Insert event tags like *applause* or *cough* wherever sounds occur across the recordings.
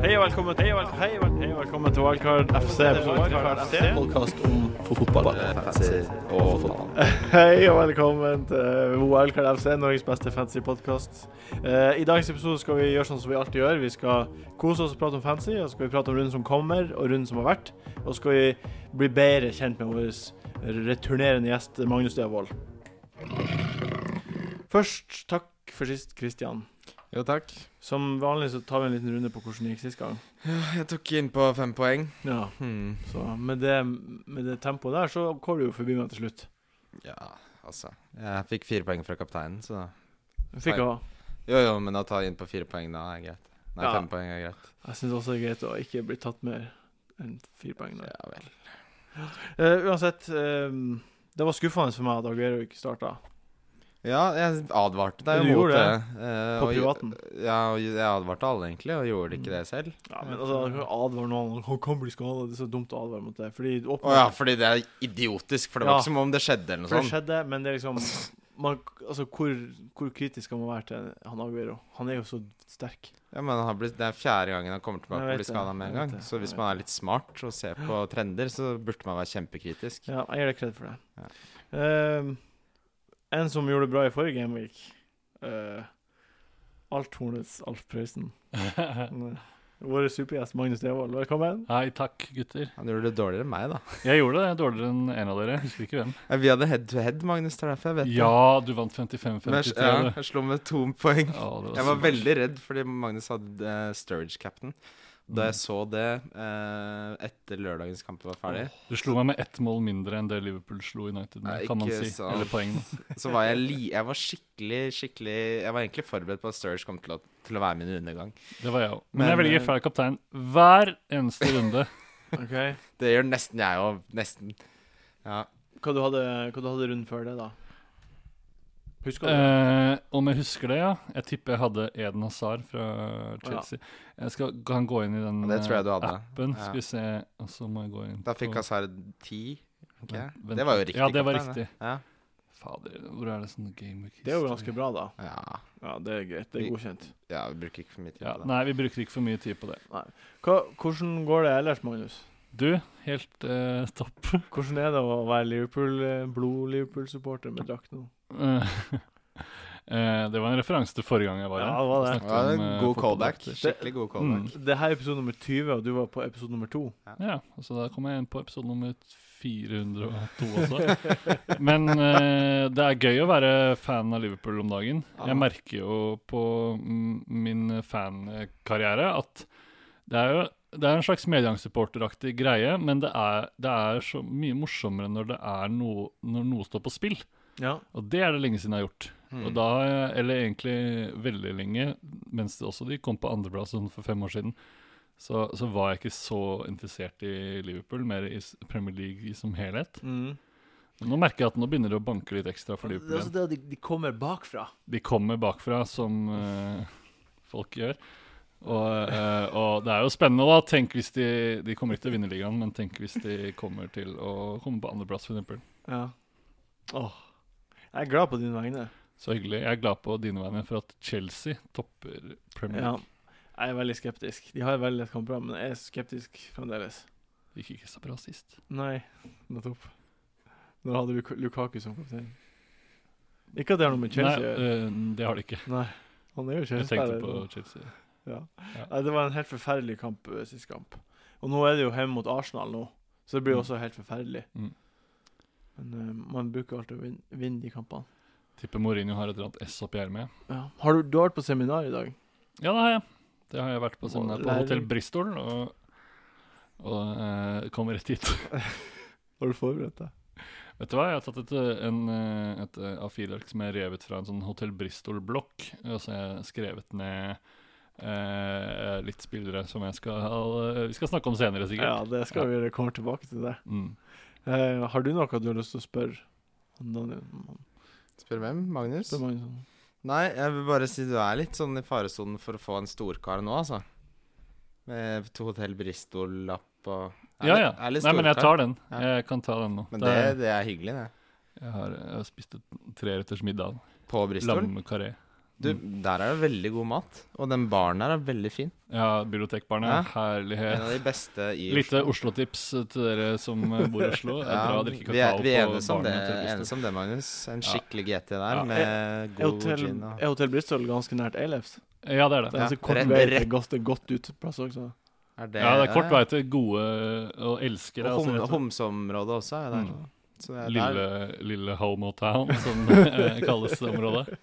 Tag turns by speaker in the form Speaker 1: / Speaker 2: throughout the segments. Speaker 1: Hei og velkommen til Wildcard Hei og vel- hei og velkommen til Wildcard FC. Wildcard FC.
Speaker 2: podkast om fotball. Og fotball.
Speaker 1: Hei og velkommen til Wildcard FC, Norges beste fancy podkast. I dagens episode skal vi gjøre sånn som vi alltid gjør. Vi skal kose oss og prate om fancy, og så skal vi prate om runden som kommer, og runden som har vært. Og så skal vi bli bedre kjent med vår returnerende gjest Magnus Devold. Først takk for sist, Christian.
Speaker 3: Jo, takk.
Speaker 1: Som vanlig så tar vi en liten runde på hvordan det gikk sist gang.
Speaker 3: Jeg tok inn på fem poeng.
Speaker 1: Ja,
Speaker 3: Hmm.
Speaker 1: så med det, med det tempoet der, så går du jo forbi meg til slutt.
Speaker 3: Ja, altså. Jeg fikk fire poeng fra kapteinen, så
Speaker 1: Fikk jeg ha.
Speaker 3: Jo, jo, men å ta inn på fire poeng da er greit. Nei,
Speaker 1: Ja.
Speaker 3: fem poeng er greit.
Speaker 1: Jeg syns også det er greit å ikke bli tatt mer enn fire poeng. der.
Speaker 3: Ja vel.
Speaker 1: Eh, uansett, eh, det var skuffende for meg at Aguero ikke starta.
Speaker 3: Ja, jeg advarte
Speaker 1: Ja,
Speaker 3: deg
Speaker 1: du
Speaker 3: jo mot
Speaker 1: gjorde
Speaker 3: det.
Speaker 1: det.
Speaker 3: eh,
Speaker 1: På
Speaker 3: og-
Speaker 1: privaten.
Speaker 3: Ja, og jeg advarte alle, egentlig, og gjorde ikke
Speaker 1: Mm.
Speaker 3: det selv.
Speaker 1: Ja, men altså, jeg kan ikke advare noen. Han kan bli skada. Det er så dumt å advare mot det. Fordi det
Speaker 3: Å ja, fordi det er idiotisk, for det
Speaker 1: Mm. Ja.
Speaker 3: var ikke som om det skjedde, eller noe
Speaker 1: for det
Speaker 3: sånt.
Speaker 1: skjedde, men det er liksom man, altså, hvor, hvor kritisk skal man være til han Aguero? Han er jo så sterk.
Speaker 3: Ja, men han blir, Det er fjerde gangen han kommer tilbake
Speaker 1: Jeg
Speaker 3: og
Speaker 1: vet
Speaker 3: blir
Speaker 1: det,
Speaker 3: skada med
Speaker 1: jeg
Speaker 3: en
Speaker 1: vet
Speaker 3: gang.
Speaker 1: det,
Speaker 3: Så
Speaker 1: jeg
Speaker 3: hvis
Speaker 1: vet
Speaker 3: man er litt smart og ser på trender, så burde man være kjempekritisk.
Speaker 1: Ja, jeg gir deg kred for det. Eh, en som gjorde det bra i forrige gameweek uh, Althornets Alf Prøysen. eh, Vår supergjest Magnus Devold,
Speaker 4: *laughs*
Speaker 1: velkommen.
Speaker 4: Hei, takk, gutter.
Speaker 3: Han gjorde det dårligere enn meg, da.
Speaker 4: Jeg gjorde det dårligere enn en av dere. Jeg husker ikke hvem.
Speaker 3: Ja, Vi hadde head to head, Magnus. Det er derfor jeg vet det.
Speaker 4: Ja, du vant
Speaker 3: Men jeg,
Speaker 4: 55-53.
Speaker 3: ja,
Speaker 4: du.
Speaker 3: jeg slo med to poeng.
Speaker 4: Ja, det
Speaker 3: Jeg var
Speaker 4: sykt.
Speaker 3: veldig redd fordi Magnus hadde eh, Sturridge captain. Da
Speaker 4: Mm.
Speaker 3: jeg så det eh, etter lørdagens kamp var ferdig,
Speaker 4: Du slo meg med ett mål mindre enn det Liverpool slo United med,
Speaker 3: Nei,
Speaker 4: kan man
Speaker 3: ikke
Speaker 4: si.
Speaker 3: sant.
Speaker 4: Eller poeng. da.
Speaker 3: *laughs* så var jeg li Jeg var skikkelig, skikkelig Jeg var egentlig forberedt på at Sturridge kom til å, til å være min undergang.
Speaker 4: Det var jeg òg. Men,
Speaker 3: Men,
Speaker 4: jeg velger
Speaker 3: eh,
Speaker 4: fra kaptein hver eneste
Speaker 3: *laughs*
Speaker 4: runde.
Speaker 1: Ok.
Speaker 3: Det gjør nesten jeg òg. Nesten. Ja.
Speaker 1: Hva du hadde, hva du hadde runden før det, da? Husker du?
Speaker 4: Eh, om jeg husker det, ja. Jeg tipper jeg hadde Eden Hazard fra Chelsea. Jeg skal, kan gå inn i den
Speaker 3: Og det tror jeg du
Speaker 4: eh,
Speaker 3: hadde.
Speaker 4: appen.
Speaker 3: Ja.
Speaker 4: Skal vi se, og så må jeg gå inn
Speaker 3: Da fikk
Speaker 4: på-
Speaker 3: Hazard ti. ikke jeg?
Speaker 4: Vent-
Speaker 3: Det var jo riktig.
Speaker 4: Ja, det var
Speaker 3: kaptein,
Speaker 4: riktig.
Speaker 3: Ja.
Speaker 4: Fader, hvor er det sånn game week
Speaker 1: Det er jo
Speaker 4: history?
Speaker 1: ganske bra, da.
Speaker 3: Ja.
Speaker 1: Ja, Det er greit. Det er godkjent.
Speaker 3: ja, vi bruker ikke for mye tid
Speaker 4: ja,
Speaker 3: på det.
Speaker 4: Nei, vi bruker ikke for mye tid på det.
Speaker 1: Hva, hvordan går det ellers, Magnus?
Speaker 4: Du, helt eh, topp.
Speaker 1: Hvordan er det å være Liverpool, eh, blod-Liverpool-supporter med drakt nå?
Speaker 4: Eh, *laughs* eh, det var en referanse til forrige gang jeg var
Speaker 1: Ja,
Speaker 4: her.
Speaker 1: det var det.
Speaker 4: Snakket
Speaker 3: Det var
Speaker 4: om,
Speaker 3: en
Speaker 4: eh,
Speaker 3: god
Speaker 4: fotball. Mm.
Speaker 3: callback. Skikkelig god callback.
Speaker 1: Det her er episode nummer 20, og du var på episode nummer 2.
Speaker 4: Ja, altså da kom jeg inn på episode nummer 402 også. Men eh, det er gøy å være fan av Liverpool om dagen.
Speaker 3: Ja.
Speaker 4: Jeg merker jo på mm, min fankarriere at det er jo det er en slags medgangssupporteraktig greie, men det er, det er så mye morsommere når det er noe, når noe står på spill.
Speaker 1: Ja.
Speaker 4: Og det er det lenge siden jeg har gjort.
Speaker 3: Mm.
Speaker 1: Mm.
Speaker 4: Og da, har jeg- eller egentlig veldig lenge, mens det også de kom på andreplass sånn for fem år siden, så, så var jeg ikke så interessert i Liverpool, mer i s- Premier League som helhet.
Speaker 1: Mm.
Speaker 4: Nå merker jeg at nå begynner det å banke litt ekstra for
Speaker 1: Det er
Speaker 4: Liverpool.
Speaker 1: altså
Speaker 4: igjen.
Speaker 1: det at de, de kommer bakfra.
Speaker 4: De kommer bakfra, som eh, folk gjør. Og, eh, og det er jo spennende, da. Tenk hvis de, de kommer ikke til å vinne ligaen, men tenk hvis de kommer til å komme på andreplass, f.eks.
Speaker 1: Ja. Åh. Jeg er glad på dine vegne.
Speaker 4: Så hyggelig. Jeg er glad på dine vegne for at Chelsea topper Premier
Speaker 1: Ja.
Speaker 4: League.
Speaker 1: Jeg er veldig skeptisk. De har et veldig lett kampprogram, men jeg er skeptisk fremdeles.
Speaker 4: Det gikk ikke så bra sist.
Speaker 1: Nei, nettopp. Når hadde Luk Lukaku som kaptein? Ikke at det har noe med Chelsea å gjøre.
Speaker 4: Nei, øh, det har det ikke.
Speaker 1: Han er jo
Speaker 4: Jeg tenkte
Speaker 1: Chelsea-spiller.
Speaker 4: på
Speaker 1: nå.
Speaker 4: Chelsea.
Speaker 1: Ja.
Speaker 4: Ja.
Speaker 1: Nei, Det var en helt forferdelig kamp eh, sist kamp. Og nå er det jo hjemme mot Arsenal nå, så det blir
Speaker 4: Mm.
Speaker 1: også helt forferdelig.
Speaker 4: Mm.
Speaker 1: Men eh, man bruker jo alltid å vinne, vinne de kampene.
Speaker 4: Tipper Mourinho har et eller annet S oppi ermet.
Speaker 1: Ja. Har du, du har vært på seminar i dag?
Speaker 4: Ja, det har jeg. Det har jeg vært på seminar på
Speaker 1: Lærer.
Speaker 4: Hotell Bristol, og, og øh, kom rett hit. *laughs*
Speaker 1: Har du forberedt deg?
Speaker 4: Vet du hva, jeg har tatt et, øh, en, øh, et øh, A4-ark som jeg revet fra en sånn Hotell Bristol-blokk, og så har jeg skrevet ned øh, litt spillere som jeg skal øh, Vi skal snakke om senere,
Speaker 1: Ja,
Speaker 4: sikkert.
Speaker 1: det skal vi gjøre. Kommer tilbake til det.
Speaker 4: Mm.
Speaker 1: Eh, har du noe du har lyst til å spørre? om Daniel?
Speaker 3: Spør hvem? Magnus?
Speaker 1: Spør Magnus om-
Speaker 3: Nei, jeg vil bare si du er litt sånn i faresonen for å få en storkar nå, altså. Med to Hotell Bristol-lapp og Er
Speaker 4: Ja,
Speaker 3: litt-
Speaker 4: ja.
Speaker 3: er litt
Speaker 4: Nei, men jeg
Speaker 3: storkar.
Speaker 4: tar den.
Speaker 3: Ja.
Speaker 4: Jeg kan ta den nå.
Speaker 3: Men
Speaker 4: Det
Speaker 3: det,
Speaker 4: er-
Speaker 3: det er hyggelig, det.
Speaker 4: Jeg har, jeg har spist et treretters middag.
Speaker 3: På Bristol?
Speaker 4: Lammekaré.
Speaker 3: Du, der er det veldig god mat. Og den baren der er veldig fin.
Speaker 4: Ja, bibliotekbarnet.
Speaker 3: Ja. En
Speaker 4: Herlighet.
Speaker 3: av de beste i
Speaker 4: Lite Oslo-tips til dere som bor i Oslo. Det er bra å drikke
Speaker 3: vi er,
Speaker 4: kakao
Speaker 3: vi er
Speaker 4: på
Speaker 3: enes om det,
Speaker 4: barene til
Speaker 3: enes
Speaker 4: Bristol.
Speaker 3: om det, Magnus. En skikkelig GT der
Speaker 4: Ja. Eh,
Speaker 3: med
Speaker 1: Er
Speaker 3: god
Speaker 1: Hotel,
Speaker 3: gin. Og,
Speaker 1: er Hotel Bristol ganske nært Alephs?
Speaker 4: Ja, det er
Speaker 1: Det
Speaker 4: det.
Speaker 1: er
Speaker 3: Ja,
Speaker 1: ganske kort
Speaker 3: rett-
Speaker 1: vei til
Speaker 3: rett-
Speaker 1: godt, godt uteplass også.
Speaker 3: er det,
Speaker 4: Ja, det er kort vei til gode eh, og elskere.
Speaker 3: Og hum,
Speaker 4: altså, rett og slett.
Speaker 3: Homseområdet også er jo der.
Speaker 4: Mm.
Speaker 3: Så det er
Speaker 4: Lille,
Speaker 3: der. *laughs*
Speaker 4: lille homotown, som eh, kalles det området.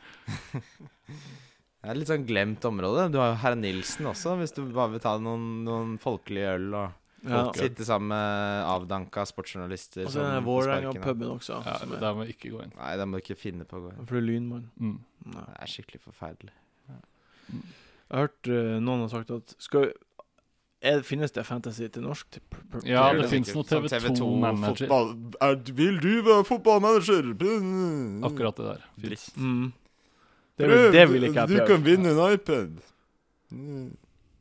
Speaker 3: Det er litt sånn glemt område. Du har jo Herr Nilsen også, hvis du bare vil ta noen, noen folkelige øl og
Speaker 1: Ja.
Speaker 4: Folk-
Speaker 3: sitte sammen med avdanka sportsjournalister.
Speaker 1: Og så
Speaker 3: som
Speaker 1: er det
Speaker 3: på sparken, da.
Speaker 1: Vålerenga-puben også.
Speaker 4: Ja,
Speaker 1: som er-
Speaker 4: der må vi ikke gå inn.
Speaker 3: Nei, det må du ikke finne på å gå inn.
Speaker 1: For det er lynmann.
Speaker 4: Mm.
Speaker 1: Nei.
Speaker 3: Det er skikkelig forferdelig.
Speaker 1: Jeg har hørt eh, noen har sagt at skal, er, Finnes det fantasy til norsk? Til pr- pr-
Speaker 4: Ja,
Speaker 1: pr-
Speaker 4: det
Speaker 3: finnes
Speaker 4: fins
Speaker 3: Sånn
Speaker 4: noen TV2-manager.
Speaker 3: vil du være fotballmanager? Mm.
Speaker 4: Akkurat det der. Fins.
Speaker 1: Mm. Det, vil, det vil ikke jeg prøve.
Speaker 3: vinne en iPad.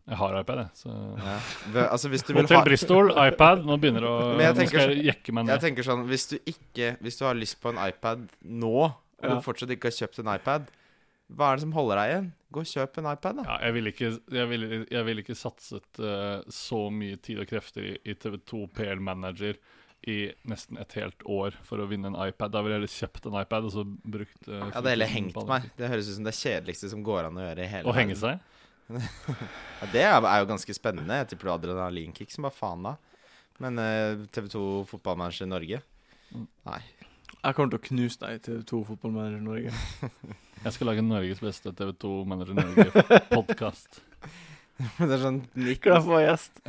Speaker 4: Jeg har iPad, jeg. Så.
Speaker 3: Ja. Ve- Altså, hvis du vil
Speaker 4: Hotel
Speaker 3: ha
Speaker 4: Bristol, iPad. Nå begynner det å
Speaker 3: Men
Speaker 4: Nå
Speaker 3: jeg tenker
Speaker 4: skal jeg jekke meg
Speaker 3: Jeg
Speaker 4: ned.
Speaker 3: tenker sånn, hvis du ikke Hvis du har lyst på en iPad nå, og
Speaker 1: Ja.
Speaker 3: du fortsatt ikke har kjøpt en iPad, hva er det som holder deg igjen? Gå og kjøp en iPad, da.
Speaker 4: Ja, jeg ville ikke, jeg ville, jeg ville ikke satset eh, så mye tid og krefter i, i TV2 PR Manager i nesten et helt år for å vinne en iPad. Da ville jeg heller kjøpt en iPad og så brukt eh,
Speaker 3: Jeg hadde heller
Speaker 4: 4000
Speaker 3: hengt
Speaker 4: på andre
Speaker 3: meg.
Speaker 4: ting.
Speaker 3: Det høres ut som det kjedeligste som går an å gjøre i hele
Speaker 4: Å henge
Speaker 3: verden.
Speaker 4: seg?
Speaker 3: Ja, det er er jo ganske spennende. Jeg tipper du har adrenalinkick som bare faen da. Men eh, TV2 Fotballmanager Norge *laughs*
Speaker 1: Jeg kommer til å knuse deg til to fotballmanager i Norge.
Speaker 4: Jeg skal lage Norges beste TV2
Speaker 3: *laughs*
Speaker 4: Manager Norge-podkast.
Speaker 3: Det er sånn
Speaker 1: Skal
Speaker 3: 19,
Speaker 1: jeg få gjest?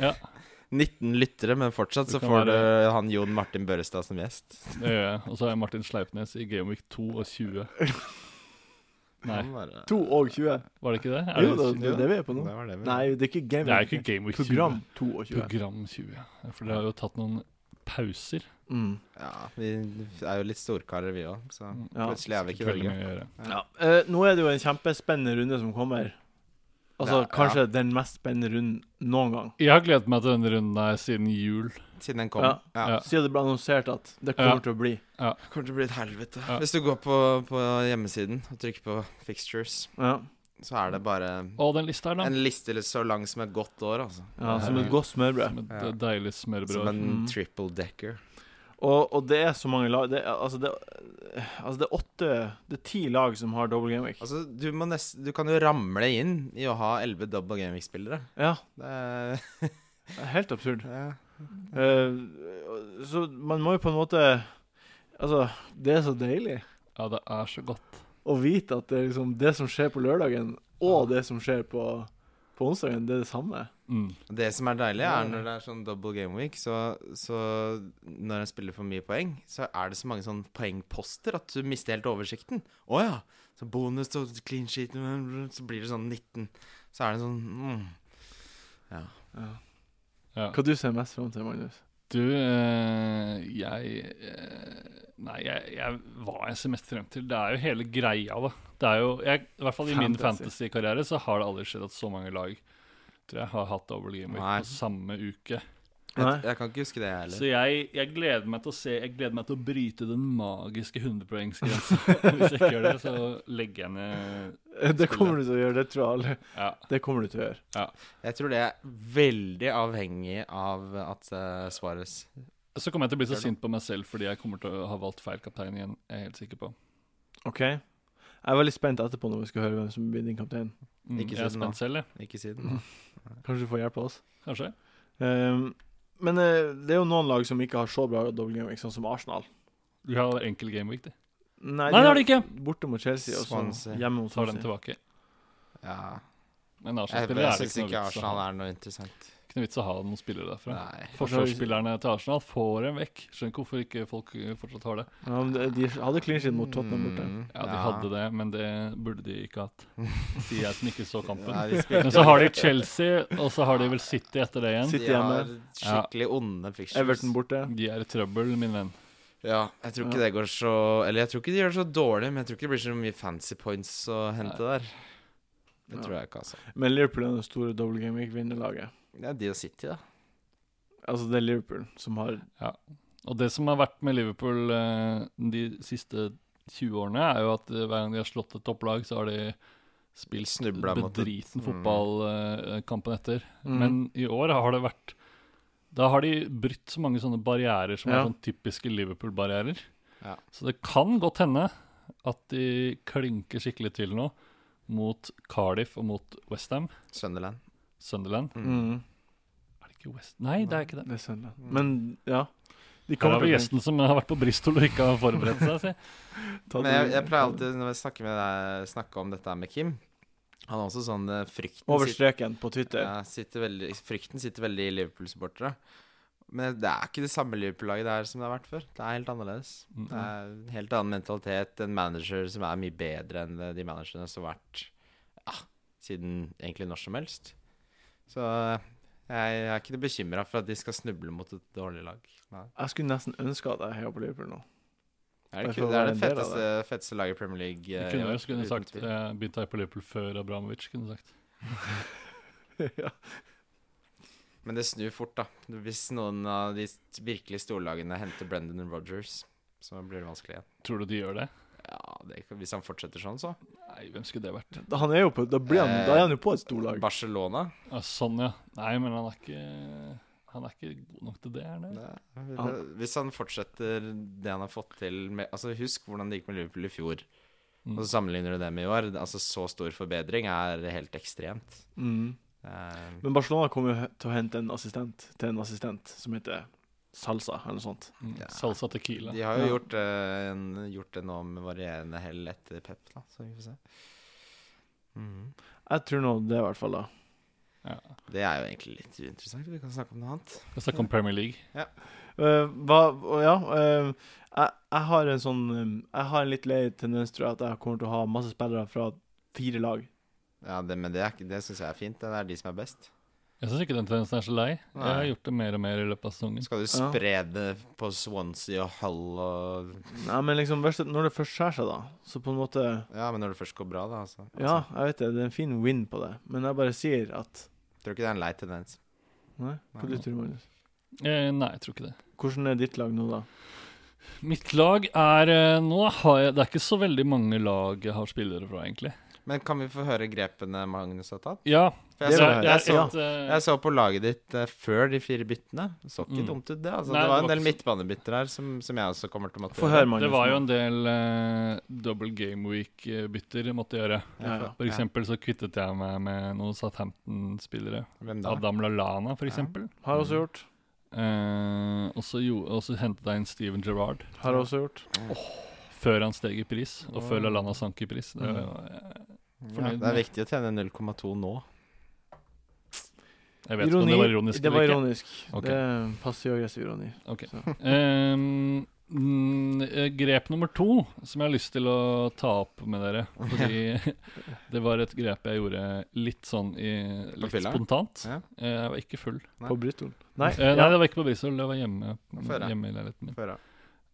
Speaker 3: 19 lyttere, men fortsatt
Speaker 4: Du
Speaker 3: så
Speaker 4: kan
Speaker 3: får du han Jon Martin Børrestad som gjest.
Speaker 4: Det gjør jeg. Og så har jeg Martin Sleipnes i Gameweek 2 og 20. Nei,
Speaker 3: Han bare-
Speaker 1: 2 og 20.
Speaker 4: var det ikke det? Er
Speaker 1: Jo, det,
Speaker 4: det,
Speaker 1: det er det vi er på nå.
Speaker 3: Det var det vi-
Speaker 1: Nei, det er ikke game.
Speaker 4: det er jo ikke Gameweek 20.
Speaker 1: Program 2 og 20.
Speaker 4: Program 20. ja. For det har jo tatt noen pauser.
Speaker 1: Mm.
Speaker 3: Ja, vi er jo litt storkarer, vi òg, så
Speaker 1: Ja.
Speaker 3: plutselig er vi ikke
Speaker 4: Veldig
Speaker 3: veldig
Speaker 4: mye å gjøre.
Speaker 1: Ja. eh, nå er det jo en kjempespennende runde som kommer. Altså
Speaker 3: Ja,
Speaker 1: kanskje den mest spennende runden noen gang.
Speaker 4: Jeg har gledet meg til denne runden her siden jul.
Speaker 3: Siden den kom.
Speaker 1: Ja.
Speaker 3: Ja.
Speaker 4: Ja.
Speaker 1: Siden det ble annonsert at det kommer
Speaker 4: Ja.
Speaker 1: til å bli.
Speaker 3: Kommer til å bli et helvete.
Speaker 4: Ja.
Speaker 3: Hvis du går på, på hjemmesiden og trykker på fixtures,
Speaker 1: Ja.
Speaker 3: så er det bare
Speaker 4: Og den lista her, da.
Speaker 3: en liste eller så lang som et godt år, altså.
Speaker 1: ja, Som et godt smørbrød.
Speaker 4: Som et
Speaker 3: Ja.
Speaker 4: deilig
Speaker 3: Som
Speaker 4: smørbrød.
Speaker 3: en
Speaker 1: Mm.
Speaker 3: triple decker.
Speaker 1: Og, og det er så mange lag det er, altså, det, altså det er åtte Det er ti lag som har double game week.
Speaker 3: Altså, du, må nest, du kan jo ramle inn i å ha elleve double gaming-spillere.
Speaker 1: Ja,
Speaker 3: Det er
Speaker 1: det er helt absurd.
Speaker 3: ja.
Speaker 1: Eh, så man må jo på en måte Altså, det er så deilig
Speaker 4: Ja, det er så godt.
Speaker 1: å vite at det er liksom det som skjer på lørdagen, og det som skjer på, på onsdagen, det er det samme.
Speaker 4: Mm.
Speaker 3: Det som er deilig, er når det er sånn double game week, så, så når en spiller for mye poeng, så er det så mange sånn poengposter at du mister helt oversikten. Å ja! Så bonus og clean sheet, så blir det sånn 19. Så er det sånn mm.
Speaker 4: Ja.
Speaker 1: Hva du ser mest fram til, Magnus?
Speaker 4: Du, eh, jeg eh, Nei, jeg, jeg, hva jeg ser mest frem til? Det er jo hele greia, da. Det er jo, jeg, I hvert fall i min
Speaker 1: Fantasy.
Speaker 4: fantasy-karriere så har det aldri skjedd at så mange lag tror jeg har hatt double game week
Speaker 3: Nei.
Speaker 4: på samme uke.
Speaker 3: jeg,
Speaker 1: Nei.
Speaker 3: jeg kan ikke huske det, jeg
Speaker 4: Så
Speaker 3: heller.
Speaker 4: jeg, jeg gleder meg til å se Jeg gleder meg til å bryte den magiske 100-poengsgrensa.
Speaker 3: *laughs*
Speaker 4: Hvis jeg ikke gjør det, så legger jeg ned
Speaker 1: Det kommer du til å gjøre, det tror jeg alle.
Speaker 4: Ja.
Speaker 1: Det kommer du til å gjøre.
Speaker 3: Jeg tror det er veldig avhengig av at uh, Svares
Speaker 4: Så kommer jeg til å bli så
Speaker 3: Gjør det.
Speaker 4: sint på meg selv fordi jeg kommer til å ha valgt feil kaptein igjen. Jeg er helt sikker på.
Speaker 1: OK? Jeg er veldig spent etterpå når vi skal høre hvem som blir din kaptein.
Speaker 4: Mm,
Speaker 3: Ikke
Speaker 4: jeg er
Speaker 3: si det nå.
Speaker 4: spent selv, jeg.
Speaker 3: Ikke si
Speaker 1: *laughs*
Speaker 3: den.
Speaker 1: Kanskje du får hjelp av oss.
Speaker 4: Kanskje.
Speaker 1: Ehm, men eh, det er jo noen lag som ikke har så bra double game week, sånn som Arsenal.
Speaker 4: Du har enkel gameweek, du.
Speaker 1: Nei,
Speaker 4: Nei, det har de ikke!
Speaker 1: Borte mot Chelsea og så
Speaker 3: Swansea.
Speaker 1: hjemme mot
Speaker 4: Tar den
Speaker 1: Swansea.
Speaker 4: tilbake.
Speaker 3: Ja.
Speaker 4: Men
Speaker 3: Jeg,
Speaker 4: Arsenal-spillere
Speaker 3: jeg
Speaker 4: er det
Speaker 3: syns ikke
Speaker 4: ikke noe vits å
Speaker 3: Arsenal
Speaker 4: ha-
Speaker 3: er noe interessant.
Speaker 4: ikke noe vits å ha noen spillere derfra.
Speaker 3: Nei.
Speaker 4: Forsvarsspillerne til Arsenal får dem vekk. Skjønner ikke hvorfor ikke folk eh, fortsatt har det.
Speaker 1: Ja, men de- de hadde clean sheet mot Tottenham borte.
Speaker 3: Mm,
Speaker 4: Ja, de hadde det, men det burde de ikke hatt.
Speaker 3: *laughs*
Speaker 4: Sier jeg som ikke så kampen.
Speaker 3: Nei, de spilte-
Speaker 4: Men så har de Chelsea, og så har de vel City etter det igjen.
Speaker 1: City.
Speaker 3: De
Speaker 1: hjemme.
Speaker 3: har skikkelig onde fixtures.
Speaker 1: Everton borte.
Speaker 4: De er i trøbbel, min venn.
Speaker 3: Ja, jeg tror ikke
Speaker 1: Ja.
Speaker 3: det går så Eller jeg tror ikke de gjør det så dårlig, men jeg tror ikke det blir så mye fancy points å hente der. Det
Speaker 1: Ja.
Speaker 3: tror jeg ikke, altså.
Speaker 1: Men Liverpool er det store double game week-vinnerlaget.
Speaker 3: Det er de og City, da.
Speaker 1: Altså, det er Liverpool som har
Speaker 4: Og det som har vært med Liverpool eh, de siste 20 årene, er jo at eh, hver gang de har slått et topplag, så har de spilt
Speaker 3: Snubla mot det.
Speaker 4: bedriten fotball eh, kampen etter.
Speaker 1: Mm.
Speaker 4: Men i år har det vært Da har de brytt så mange sånne barrierer som
Speaker 1: Ja.
Speaker 4: er sånn typiske Liverpool-barrierer.
Speaker 3: Ja.
Speaker 4: Så det kan godt hende at de klinker skikkelig til nå mot Cardiff og mot Westham.
Speaker 3: Sunderland.
Speaker 4: Sunderland.
Speaker 1: Mm.
Speaker 4: Er det ikke West... Nei, det er ikke det.
Speaker 1: Det er Sunderland.
Speaker 3: Mm.
Speaker 1: Men ja. De
Speaker 4: Her har
Speaker 1: til
Speaker 4: vi
Speaker 1: å
Speaker 4: gjesten som har vært på Bristol og ikke har forberedt seg. Si.
Speaker 1: ta
Speaker 3: Men jeg,
Speaker 1: det-
Speaker 3: jeg pleier alltid, når jeg snakker med deg, snakke om dette her med Kim Han har også sånn eh, frykten
Speaker 1: Over
Speaker 3: sitter,
Speaker 1: streken på Twitter.
Speaker 3: ja, sitter veldig, Frykten sitter veldig i Liverpool-supportere. Men det er ikke det samme Liverpool-laget der som det har vært før. Det er helt annerledes.
Speaker 4: Mm.
Speaker 3: Det er en helt annen mentalitet, en manager som er mye bedre enn de managerne som har vært ja, siden egentlig når som helst. Så jeg er ikke bekymra for at de skal snuble mot et dårlig lag. Nei.
Speaker 1: Jeg skulle nesten ønske at jeg heia på Liverpool
Speaker 3: *laughs*
Speaker 1: nå.
Speaker 3: Er det,
Speaker 1: Derfor
Speaker 3: ikke, det er
Speaker 1: var
Speaker 3: det
Speaker 1: det en del av
Speaker 3: feteste, feteste laget i Premier League.
Speaker 4: De
Speaker 3: eh, i
Speaker 4: kunne
Speaker 3: år,
Speaker 4: jo skulle
Speaker 3: uten
Speaker 4: sagt
Speaker 3: tvil.
Speaker 4: eh, begynt her på Liverpool før Abramovic. kunne sagt.
Speaker 1: ja.
Speaker 3: Men det snur fort, da. Hvis noen av de virkelig storlagene henter Brendan Rogers, så blir det vanskelig igjen.
Speaker 4: Tror du de gjør det?
Speaker 3: Ja, det, hvis han fortsetter sånn, så.
Speaker 4: Nei, hvem skulle det vært?
Speaker 1: Da, han er jo på, da, blir
Speaker 3: Eh,
Speaker 1: han, da er han jo på et storlag.
Speaker 3: Barcelona.
Speaker 4: Ja, sånn, ja. Nei, men han er ikke Han er ikke god nok til det. Er det?
Speaker 3: Det, hvis han fortsetter det han har fått til med Altså, husk hvordan det gikk med Liverpool i fjor. Og så sammenligner du det med i år. Altså, så stor forbedring er helt ekstremt.
Speaker 1: Mm.
Speaker 3: Eh,
Speaker 1: Men Barcelona kommer jo he- til å hente en assistent til en assistent som heter Salsa, eller noe sånt.
Speaker 4: Mm.
Speaker 3: Ja.
Speaker 4: Salsa Tequila.
Speaker 3: de har jo
Speaker 1: Ja.
Speaker 3: gjort, eh, en, gjort det nå med varierende hell etter Pep, da, så vi får se. Mhm.
Speaker 1: Jeg tror nå det, i hvert fall. da
Speaker 3: Det er jo egentlig litt uinteressant. Vi kan snakke om noe annet.
Speaker 4: Jeg snakker om Premier League.
Speaker 1: Eh, hva, og ja eh, jeg, jeg har en sånn eh, Jeg har en litt lei tendens, tror jeg, at jeg kommer til å ha masse spillere fra fire lag.
Speaker 3: Ja, det, men det, er ikke- det syns jeg er fint. Det er de som er best.
Speaker 4: Jeg syns ikke den tendensen er så lei. Jeg har
Speaker 3: Nei.
Speaker 4: gjort det mer og mer i løpet av sesongen.
Speaker 3: Skal du spre det på Swansea og Hull og
Speaker 1: Nei, men liksom, verst at når det først skjærer seg, da, så på en måte
Speaker 3: Ja, men når det først går bra, da, altså.
Speaker 1: Ja, jeg vet det, det er en fin win på det, men jeg bare sier at
Speaker 3: Tror ikke det er en lei tendens.
Speaker 1: Nei, hva
Speaker 3: Nei.
Speaker 1: du tror Magnus?
Speaker 4: Eh, nei, jeg tror ikke det.
Speaker 1: Hvordan er ditt lag nå, da?
Speaker 4: Mitt lag er eh, Nå har jeg Det er ikke så veldig mange lag jeg har spillere fra, egentlig.
Speaker 3: Men kan vi få høre grepene Magnus har tatt?
Speaker 4: Ja.
Speaker 3: For
Speaker 1: Det vil
Speaker 3: jeg, så,
Speaker 1: jeg høre.
Speaker 3: jeg, så,
Speaker 1: Ja.
Speaker 4: eh,
Speaker 3: jeg så på laget ditt eh, før de fire byttene. Det så ikke
Speaker 4: Mm.
Speaker 3: dumt ut, det. Altså,
Speaker 4: Nei,
Speaker 3: det var en
Speaker 4: det var
Speaker 3: del
Speaker 4: ikke
Speaker 3: midtbanebytter her som, som jeg også kommer til å måtte
Speaker 1: Få høre, Magnus.
Speaker 4: Det var jo en del eh, double game week-bytter jeg måtte gjøre.
Speaker 1: Ja, ja.
Speaker 4: For eksempel så kvittet jeg meg med noen Southampton-spillere.
Speaker 3: Hvem da?
Speaker 4: Adam Lallana, for
Speaker 3: Ja.
Speaker 4: eksempel.
Speaker 1: Har også gjort.
Speaker 4: Eh, og så jo- og så hentet jeg inn Steven Gerrard
Speaker 1: Har også gjort.
Speaker 4: før han steg i pris, og før
Speaker 3: Åh. Mm.
Speaker 4: Lallana sank i pris. Det,
Speaker 3: Ja,
Speaker 4: fornøyd
Speaker 3: det er
Speaker 4: med.
Speaker 3: viktig å tjene 0,2 nå.
Speaker 4: jeg vet ikke om det var ironisk
Speaker 1: Det var
Speaker 4: eller ikke.
Speaker 1: ironisk.
Speaker 4: Ok.
Speaker 1: Det passer jo aggressiv ironi.
Speaker 4: Ehm, mm, eh, grep nummer to som jeg har lyst til å ta opp med dere.
Speaker 3: *laughs*
Speaker 4: Fordi det var et grep jeg gjorde litt sånn i,
Speaker 3: På
Speaker 4: litt
Speaker 3: fylla?
Speaker 4: spontant.
Speaker 3: Ja.
Speaker 4: Eh, Jeg var ikke full.
Speaker 3: Nei.
Speaker 1: På Bristol. Nei,
Speaker 4: Eh,
Speaker 1: ja.
Speaker 4: nei, det var ikke på Bristol, det var hjemme,
Speaker 3: Få høre.
Speaker 4: hjemme i leiligheten min.
Speaker 3: Få høre.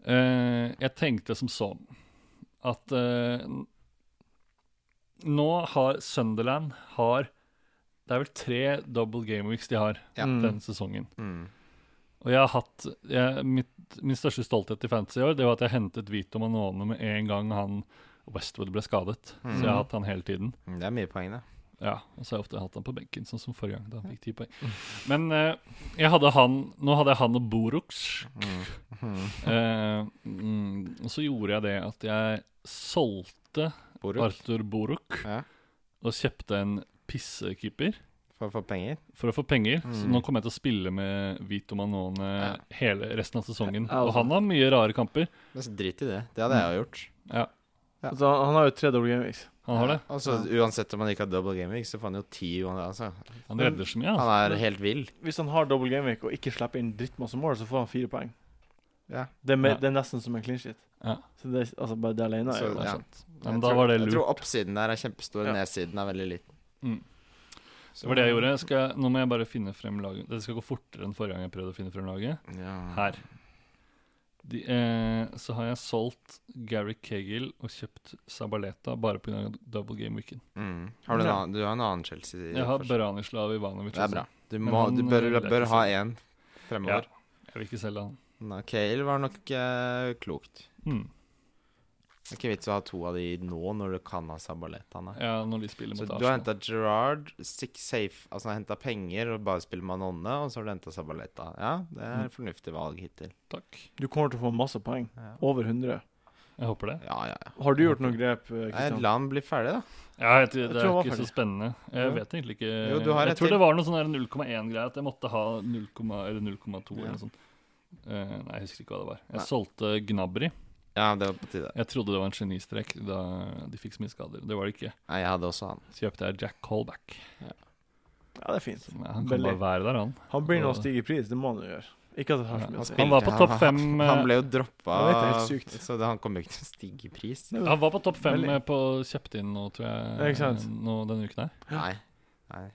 Speaker 4: Eh, jeg tenkte som sånn at eh, n- nå har Sunderland har Det er vel tre double game weeks de har
Speaker 3: Ja.
Speaker 1: Mm.
Speaker 4: denne sesongen.
Speaker 3: Mm.
Speaker 4: Og jeg har hatt jeg, mitt, Min største stolthet i fantasy i år Det var at jeg hentet Vito Manone med en gang han Westwood ble skadet. Så jeg har hatt han hele tiden.
Speaker 3: Mm, Det er mye poeng, det.
Speaker 4: Ja, Og så har jeg ofte hatt han på benken, sånn som forrige gang. da han fikk 10 poeng. Men eh, jeg hadde han, nå hadde jeg han og Borux.
Speaker 3: Mm.
Speaker 4: Eh, mm, og så gjorde jeg det at jeg solgte
Speaker 3: Boruk
Speaker 4: Arthur Boruk
Speaker 3: Ja.
Speaker 4: og kjøpte en pissekeeper
Speaker 3: for å få penger.
Speaker 4: for å få penger. Så nå kommer jeg til å spille med Vito Manone
Speaker 3: Mm. Ja.
Speaker 4: hele resten av sesongen.
Speaker 1: Ja, altså.
Speaker 4: Og han har mye rare kamper.
Speaker 3: Men så drit i det. Det hadde jeg jo
Speaker 4: Mm.
Speaker 3: gjort.
Speaker 4: Ja,
Speaker 1: Altså, han har jo tre double gameweeks.
Speaker 4: han har det.
Speaker 3: Og så Uansett om han ikke har double gaming, så får han jo ti. Altså.
Speaker 4: Han redder så mye.
Speaker 3: Han
Speaker 4: Altså.
Speaker 3: er helt vill.
Speaker 1: Hvis han har double gameweek og ikke slipper inn drittmasse mål, så får han fire poeng.
Speaker 3: Ja.
Speaker 1: Det er, me-
Speaker 4: Ja.
Speaker 1: det er nesten som en clean sheet.
Speaker 4: Ja.
Speaker 1: Så det, er- altså, bare det alene er
Speaker 3: Så-
Speaker 1: jo
Speaker 4: Det er
Speaker 3: ja.
Speaker 4: sant. Men
Speaker 3: Jeg
Speaker 4: da
Speaker 3: tror-
Speaker 4: var det
Speaker 3: Jeg
Speaker 4: lurt.
Speaker 3: tror oppsiden der er kjempestor,
Speaker 1: Ja.
Speaker 3: nedsiden er veldig liten.
Speaker 4: Mm.
Speaker 3: Så-
Speaker 4: Det var det jeg gjorde. Skal jeg, nå må jeg bare finne frem laget. Det skal gå fortere enn forrige gang jeg prøvde å finne frem laget.
Speaker 3: Ja.
Speaker 4: Her. De, eh, så har jeg solgt Gary Cagle og kjøpt Sabaleta bare pga. double game weekend.
Speaker 3: Mm. Har du, en
Speaker 1: Ja.
Speaker 3: annen, du har en annen Chelsea?
Speaker 4: Jeg har
Speaker 3: fortsatt.
Speaker 4: Beranislav Ivanovic.
Speaker 3: Det er
Speaker 4: også.
Speaker 3: bra. Du,
Speaker 4: Men
Speaker 3: må,
Speaker 4: han,
Speaker 3: du bør,
Speaker 4: eh, vil jeg
Speaker 3: bør
Speaker 4: ikke
Speaker 3: ha én fremover.
Speaker 4: Ja, jeg vil ikke selge han.
Speaker 3: Nei, Kale var nok eh, klokt.
Speaker 4: Hmm.
Speaker 3: Det er ikke vits å ha to av de nå, når du kan ha Sabaleta. Nei.
Speaker 4: Ja, når de spiller
Speaker 3: Så
Speaker 4: mot
Speaker 3: du har
Speaker 4: Arsenal.
Speaker 3: henta Gerard, six safe, altså henta penger og bare spiller Manonne, og så har du henta Sabaleta. Ja, det
Speaker 4: Mm.
Speaker 3: er et fornuftig valg hittil.
Speaker 4: Takk.
Speaker 1: Du kommer til å få masse poeng.
Speaker 3: Ja.
Speaker 1: Over 100.
Speaker 4: Jeg håper det.
Speaker 3: Ja, ja, ja.
Speaker 1: Har du gjort noen grep, eh,
Speaker 3: Nei,
Speaker 1: Kristian?
Speaker 3: La han bli ferdig, da.
Speaker 4: Ja, jeg
Speaker 1: Jeg
Speaker 4: tror, det
Speaker 1: tror
Speaker 4: er
Speaker 1: han var
Speaker 4: ikke så
Speaker 1: ferdig.
Speaker 4: spennende. Jeg
Speaker 1: Ja.
Speaker 4: vet egentlig ikke
Speaker 3: Jo, du har
Speaker 4: Jeg
Speaker 3: et
Speaker 4: tror
Speaker 3: til.
Speaker 4: det var noe sånn der 0,1-greie, at jeg måtte ha 0,0 eller 0,2
Speaker 3: Ja.
Speaker 4: eller noe sånt. Eh, nei, jeg husker ikke hva det var. Jeg
Speaker 3: Nei.
Speaker 4: solgte Gnabry.
Speaker 3: Ja, det var på tide.
Speaker 4: Jeg trodde det var en genistrek da de fikk så mye skader. Det var det ikke.
Speaker 3: Nei, jeg hadde også han.
Speaker 4: Så kjøpte jeg Jack Colback.
Speaker 1: Ja, det er fint.
Speaker 4: Som, ja, han kan
Speaker 1: Billig.
Speaker 4: bare være der, han.
Speaker 1: Han blir nå å stige i pris, det må han jo gjøre. Ikke at det har så
Speaker 4: Ja,
Speaker 1: mye å si.
Speaker 4: han var på topp fem,
Speaker 3: Han,
Speaker 4: eh,
Speaker 3: ble jo droppa,
Speaker 1: Jeg vet, det er helt sykt.
Speaker 3: så det, han kommer jo ikke til å stige i pris.
Speaker 1: Nei,
Speaker 4: Han var på topp fem
Speaker 1: Veldig.
Speaker 4: eh, på kjøpt inn nå, tror jeg,
Speaker 1: Ja, ikke sant?
Speaker 4: eh, nå denne uken her.
Speaker 3: Nei. Nei.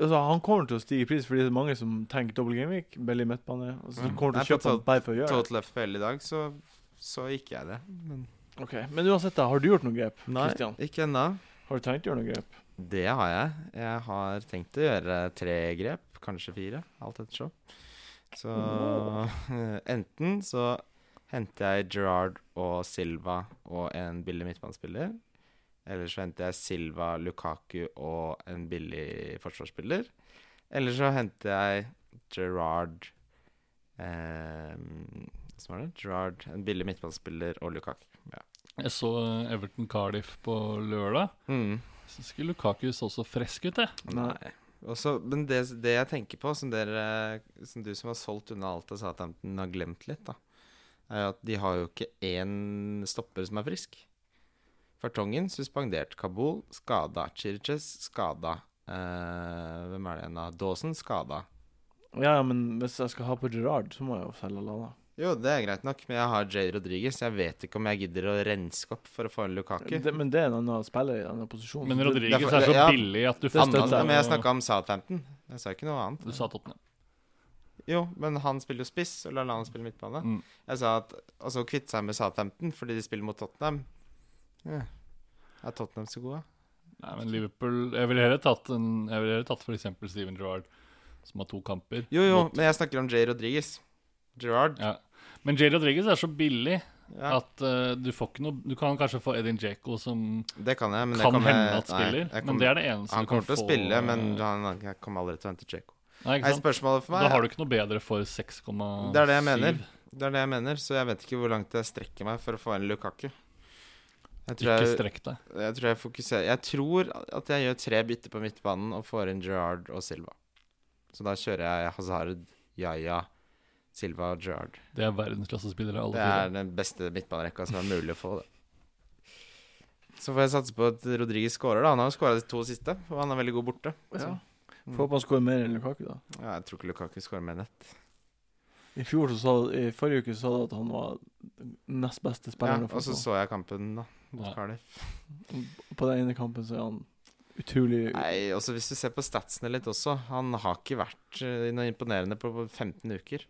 Speaker 1: Altså, han kommer til å stige i pris fordi det er mange som tenker dobbel gameweek, Belly midtbane, og så
Speaker 3: Mm.
Speaker 1: kommer
Speaker 3: Nei,
Speaker 1: til å
Speaker 3: på
Speaker 1: kjøpe han bare for å gjøre det.
Speaker 3: Total FPL i dag, så, så gikk jeg det. Men
Speaker 1: Ok, Men uansett, da, har du gjort noen grep?
Speaker 3: Nei,
Speaker 1: Kristian?
Speaker 3: ikke ennå.
Speaker 1: Har du tenkt å gjøre noen grep?
Speaker 3: Det har jeg. Jeg har tenkt å gjøre tre grep, kanskje fire, alt ettersom. Så *laughs* enten så henter jeg Gerard og Silva og en billig midtbanespiller. Eller så henter jeg Silva, Lukaku og en billig forsvarsspiller. Eller så henter jeg Gerard eh, Som var det? Gerard, en billig midtbanespiller og Lukaku. Ja.
Speaker 4: Jeg så eh, Everton Cardiff på lørdag.
Speaker 3: Mm.
Speaker 4: Så skulle Lukaku så så fresk ut, jeg.
Speaker 1: Nei.
Speaker 3: Nei. Også, men det, det jeg tenker på, som, dere, som du som har solgt unna alt av Southampton, har glemt litt, da, er jo at de har jo ikke én stopper som er frisk. Fartongen suspendert. Kabul skada. Chirches skada. Eh, hvem er det igjen, da? Dawson skada.
Speaker 1: Ja, ja, men hvis jeg skal ha på Gerard, så må jeg jo selge Lana.
Speaker 3: Jo, det er greit nok, men jeg har Jade Rodriguez. Jeg vet ikke om jeg gidder å renske opp for å få en Lukaku.
Speaker 1: Det, men det er en annen spiller i denne posisjonen.
Speaker 4: Men
Speaker 1: så det-
Speaker 4: Rodriguez
Speaker 3: derfor-
Speaker 4: er så
Speaker 3: ja,
Speaker 4: billig at du
Speaker 1: det
Speaker 4: fant
Speaker 1: støtter
Speaker 3: Annet,
Speaker 1: jeg.
Speaker 3: men jeg snakka om Southampton. Jeg sa ikke noe annet.
Speaker 4: Du sa Tottenham.
Speaker 3: Jo, men han spiller jo spiss, og la han spille midtbane.
Speaker 4: Mm.
Speaker 3: Jeg sa at Og så kvitte seg med Southampton fordi de spiller mot Tottenham. Ja. Er Tottenham så gode?
Speaker 4: Nei, men Liverpool Jeg ville heller tatt, en, jeg ville heller tatt for eksempel Steven Gerrard, som har to kamper.
Speaker 3: Jo, jo,
Speaker 4: mot-
Speaker 3: men jeg snakker om Jay Rodriguez. Gerard.
Speaker 4: ja. Men Jay Rodriguez er så billig
Speaker 3: Ja,
Speaker 4: at eh, du får ikke noe Du kan kanskje få Edin Djeko, som
Speaker 3: det kan jeg, men det
Speaker 4: kan
Speaker 3: kommer
Speaker 4: hende
Speaker 3: jeg-
Speaker 4: at spiller,
Speaker 3: Nei, jeg
Speaker 4: men
Speaker 3: kommer,
Speaker 4: det er det eneste
Speaker 3: han
Speaker 4: du kan
Speaker 3: kommer til å
Speaker 4: få,
Speaker 3: spille, men
Speaker 4: eh,
Speaker 3: han, han kommer aldri til å hente Djeko.
Speaker 4: Nei,
Speaker 3: Nei,
Speaker 4: ikke sant?
Speaker 3: spørsmålet for meg
Speaker 4: Da har du ikke noe bedre for 6,7.
Speaker 3: Det er det jeg mener. Det er det jeg mener, så jeg vet ikke hvor langt jeg strekker meg for å få en Lukaku. Jeg tror
Speaker 4: Ikke
Speaker 3: jeg,
Speaker 4: strekk deg.
Speaker 3: jeg tror jeg fokuserer Jeg tror at jeg gjør tre bytter på midtbanen og får inn Gerard og Silva. Så da kjører jeg Hazard, Yaya, Silva og Gerard.
Speaker 4: Det er verdensklassespillere, alle
Speaker 3: Det
Speaker 4: fire.
Speaker 3: er den beste midtbanerekka som er mulig å få, det. Så får jeg satse på at Rodriguez skårer, da. Han har jo skåra de to siste, og han er veldig god borte.
Speaker 1: Ja.
Speaker 3: Så,
Speaker 4: Mm.
Speaker 3: Mm.
Speaker 1: Får håpe han skårer mer enn Lukaku, da.
Speaker 3: ja, jeg tror ikke Lukaku skårer med nett.
Speaker 1: I fjor så sa I forrige uke så sa du at han var nest beste
Speaker 3: Ja, altså
Speaker 1: spilleren å få
Speaker 3: og så så jeg kampen, da. Mot
Speaker 4: Ja.
Speaker 3: Cardiff.
Speaker 1: på. På den ene kampen så er han utrolig
Speaker 3: Nei, også hvis du ser på statsene litt også. Han har ikke vært eh, noe imponerende på 15 uker.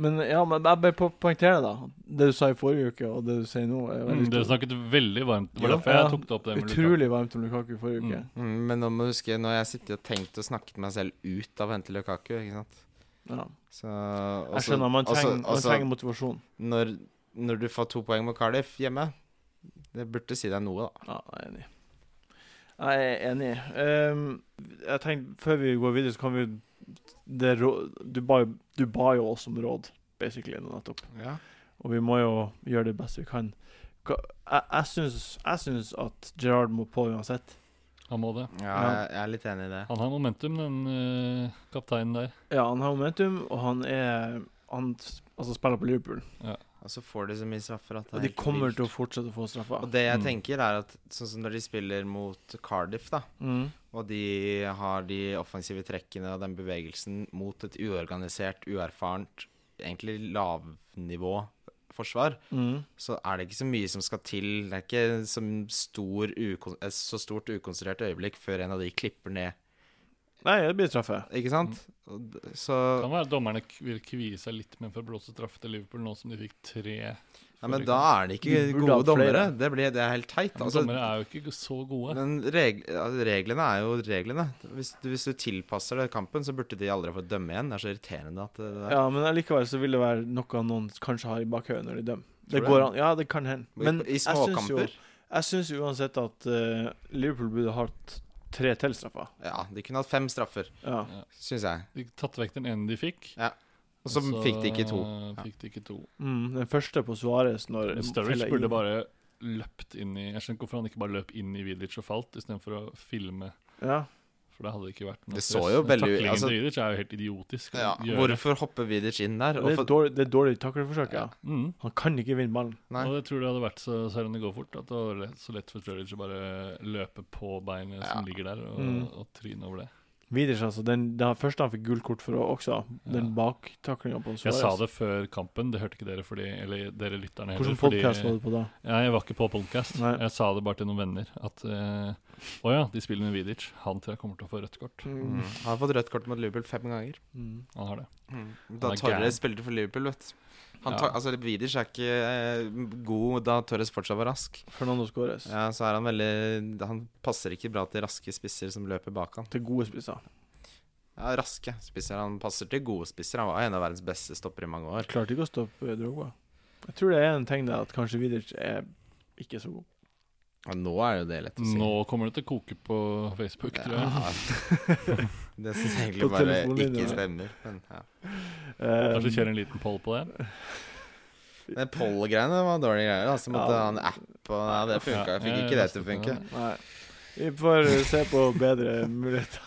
Speaker 1: Men ja, men jeg bare po- poengterer da. Det du sa i forrige uke, og det du sier nå, er
Speaker 4: Mm,
Speaker 1: veldig
Speaker 4: Dere snakket veldig varmt. Det var
Speaker 1: Jo,
Speaker 4: derfor jeg
Speaker 1: ja.
Speaker 4: tok det opp. det med Lukaku.
Speaker 1: utrolig varmt om Lukaku i forrige uke.
Speaker 3: Mm, Men nå må du huske, nå har jeg sittet og tenkt og snakket meg selv ut av å hente Lukaku, ikke sant.
Speaker 1: Ja.
Speaker 3: Så,
Speaker 1: Jeg
Speaker 3: Altså,
Speaker 1: skjønner, man trenger, man trenger
Speaker 3: også,
Speaker 1: motivasjon.
Speaker 3: når, når du får to poeng mot Cardiff hjemme, det burde si deg noe, da.
Speaker 1: Ja, jeg er enig. Jeg er enig. Ehm, jeg tenkte, Før vi går videre, så kan vi det, rå- du, ba, jo- du ba jo oss om råd, basically, nå nettopp.
Speaker 3: Ja.
Speaker 1: Og vi må jo gjøre det beste vi kan. Hva- Jeg, jeg, syns, jeg syns at Gerard må på uansett.
Speaker 4: Han må det.
Speaker 3: jeg, jeg er litt enig i det.
Speaker 4: Han har momentum, den eh, kapteinen der.
Speaker 1: Ja, han har momentum, og han er Han s- altså, spiller på Liverpool.
Speaker 3: Og så får de så mye straffer at det
Speaker 1: Og
Speaker 3: er
Speaker 1: de
Speaker 3: helt
Speaker 1: kommer
Speaker 3: vilt.
Speaker 1: til å fortsette å få straffer.
Speaker 3: Og det jeg
Speaker 4: Mm.
Speaker 3: tenker, er at sånn som når de spiller mot Cardiff, da.
Speaker 1: Mm.
Speaker 3: Og de har de offensive trekkene og den bevegelsen mot et uorganisert, uerfarent, egentlig lavnivå forsvar,
Speaker 1: Mm.
Speaker 3: så er det ikke så mye som skal til. Det er ikke så, stor, ukon et så stort ukonsentrert øyeblikk før en av de klipper ned,
Speaker 1: Nei, det blir straffe.
Speaker 3: ikke sant? Og d- Så
Speaker 4: Kan være dommerne k- vil kvie seg litt med for å blåse straff til Liverpool nå som de fikk tre.
Speaker 3: Nei, men da er det
Speaker 1: Vi
Speaker 3: ikke
Speaker 1: burde
Speaker 3: gode
Speaker 1: hatt flere.
Speaker 3: dommere. Det, blir, det er helt teit.
Speaker 4: Men
Speaker 3: Altså,
Speaker 4: dommere er jo ikke så gode.
Speaker 3: men reg altså, reglene er jo reglene. Hvis du, hvis du tilpasser deg kampen, så burde de aldri få dømme igjen. Det er så irriterende at det det er
Speaker 1: Ja, men allikevel så vil det være noe noen kanskje har i bakhodet når de dømmer. Det
Speaker 3: Tror du
Speaker 1: går
Speaker 3: det?
Speaker 1: an. Ja, det kan hende. Men
Speaker 3: I
Speaker 1: jeg syns jo,
Speaker 3: småkamper?
Speaker 1: jeg syns jo uansett at eh, Liverpool burde hatt tre til straffer.
Speaker 3: Ja, de kunne hatt fem straffer,
Speaker 1: Ja.
Speaker 3: syns jeg.
Speaker 4: De tatt vekk den ene de fikk.
Speaker 3: Og så
Speaker 4: og så
Speaker 3: fikk de ikke to. Ja.
Speaker 4: Fikk de ikke to.
Speaker 1: Mm, den første på Suarez når
Speaker 4: Men
Speaker 1: fella
Speaker 4: Sturridge
Speaker 1: i-
Speaker 4: burde bare løpt inn i Jeg skjønner ikke hvorfor han ikke bare løp inn i Vidic og falt, istedenfor å filme.
Speaker 1: Ja.
Speaker 4: For det hadde ikke vært noe
Speaker 3: Det så jo
Speaker 4: Den
Speaker 3: veldig-
Speaker 4: Taklingen
Speaker 3: altså-
Speaker 4: til Vidic er jo helt idiotisk. å
Speaker 3: Ja,
Speaker 4: gjøre.
Speaker 3: hvorfor hopper Vidic inn der?
Speaker 1: Det
Speaker 3: Og
Speaker 1: er
Speaker 3: for,
Speaker 1: dårlig, det er dårlig takleforsøk. Ja.
Speaker 4: Mm.
Speaker 1: Han kan ikke vinne ballen.
Speaker 3: nei,
Speaker 4: Og jeg tror det hadde vært så, selv om det går fort, at det var lett, så lett for Sturridge å bare løpe på beinet som ligger der, og,
Speaker 1: Mm.
Speaker 4: og tryne over det.
Speaker 1: Vidic, altså. Den, det var første han fikk gult kort for også. Den baktaklinga på
Speaker 4: Jeg
Speaker 1: Suarez.
Speaker 4: sa det før kampen, det hørte ikke dere fordi Eller dere lytterne heller.
Speaker 1: Hvilken
Speaker 4: fordi-
Speaker 1: podkast var det på da?
Speaker 4: Ja, jeg var ikke på podcast.
Speaker 1: Nei.
Speaker 4: Jeg sa det bare til noen venner. At eh, å ja, de spiller med Vidic. Han tror jeg kommer til å få rødt kort.
Speaker 3: mm.
Speaker 1: Mm.
Speaker 3: Han har fått rødt kort mot Liverpool fem ganger.
Speaker 1: Mm.
Speaker 4: Han har det.
Speaker 3: Da
Speaker 4: Han er gæren.
Speaker 3: Torres spilte for Liverpool, vet du. Han
Speaker 4: Ja.
Speaker 3: tar, altså, Vidic er ikke eh, god da Torres fortsatt var rask.
Speaker 1: Fernando Scores.
Speaker 3: Ja, så er han veldig Han passer ikke bra til raske spisser som løper bak han.
Speaker 1: Til gode spisser.
Speaker 3: Ja, raske spisser. Han passer til gode spisser. Han var en av verdens beste stopper i mange år.
Speaker 1: Klarte ikke å stoppe Droga. Jeg tror det er en ting der at kanskje Vidic er ikke så god.
Speaker 3: Ja, nå er jo det lett å si.
Speaker 4: Nå kommer det til å koke på Facebook, tror jeg.
Speaker 3: Ja. *laughs* det syns jeg egentlig
Speaker 1: På
Speaker 3: bare
Speaker 1: telefonlinja.
Speaker 3: ikke stemmer. Men, ja.
Speaker 4: Kanskje
Speaker 1: Eh,
Speaker 4: kjøre en liten poll på det.
Speaker 3: Men Poll-greiene var dårlige greier. Altså måtte
Speaker 1: Ja.
Speaker 3: ha en app og Nei, det funka. Jeg fikk
Speaker 4: Ja, jeg
Speaker 3: ikke det til å
Speaker 4: lastet ned
Speaker 3: funke.
Speaker 4: det.
Speaker 1: nei. Vi får se på bedre muligheter.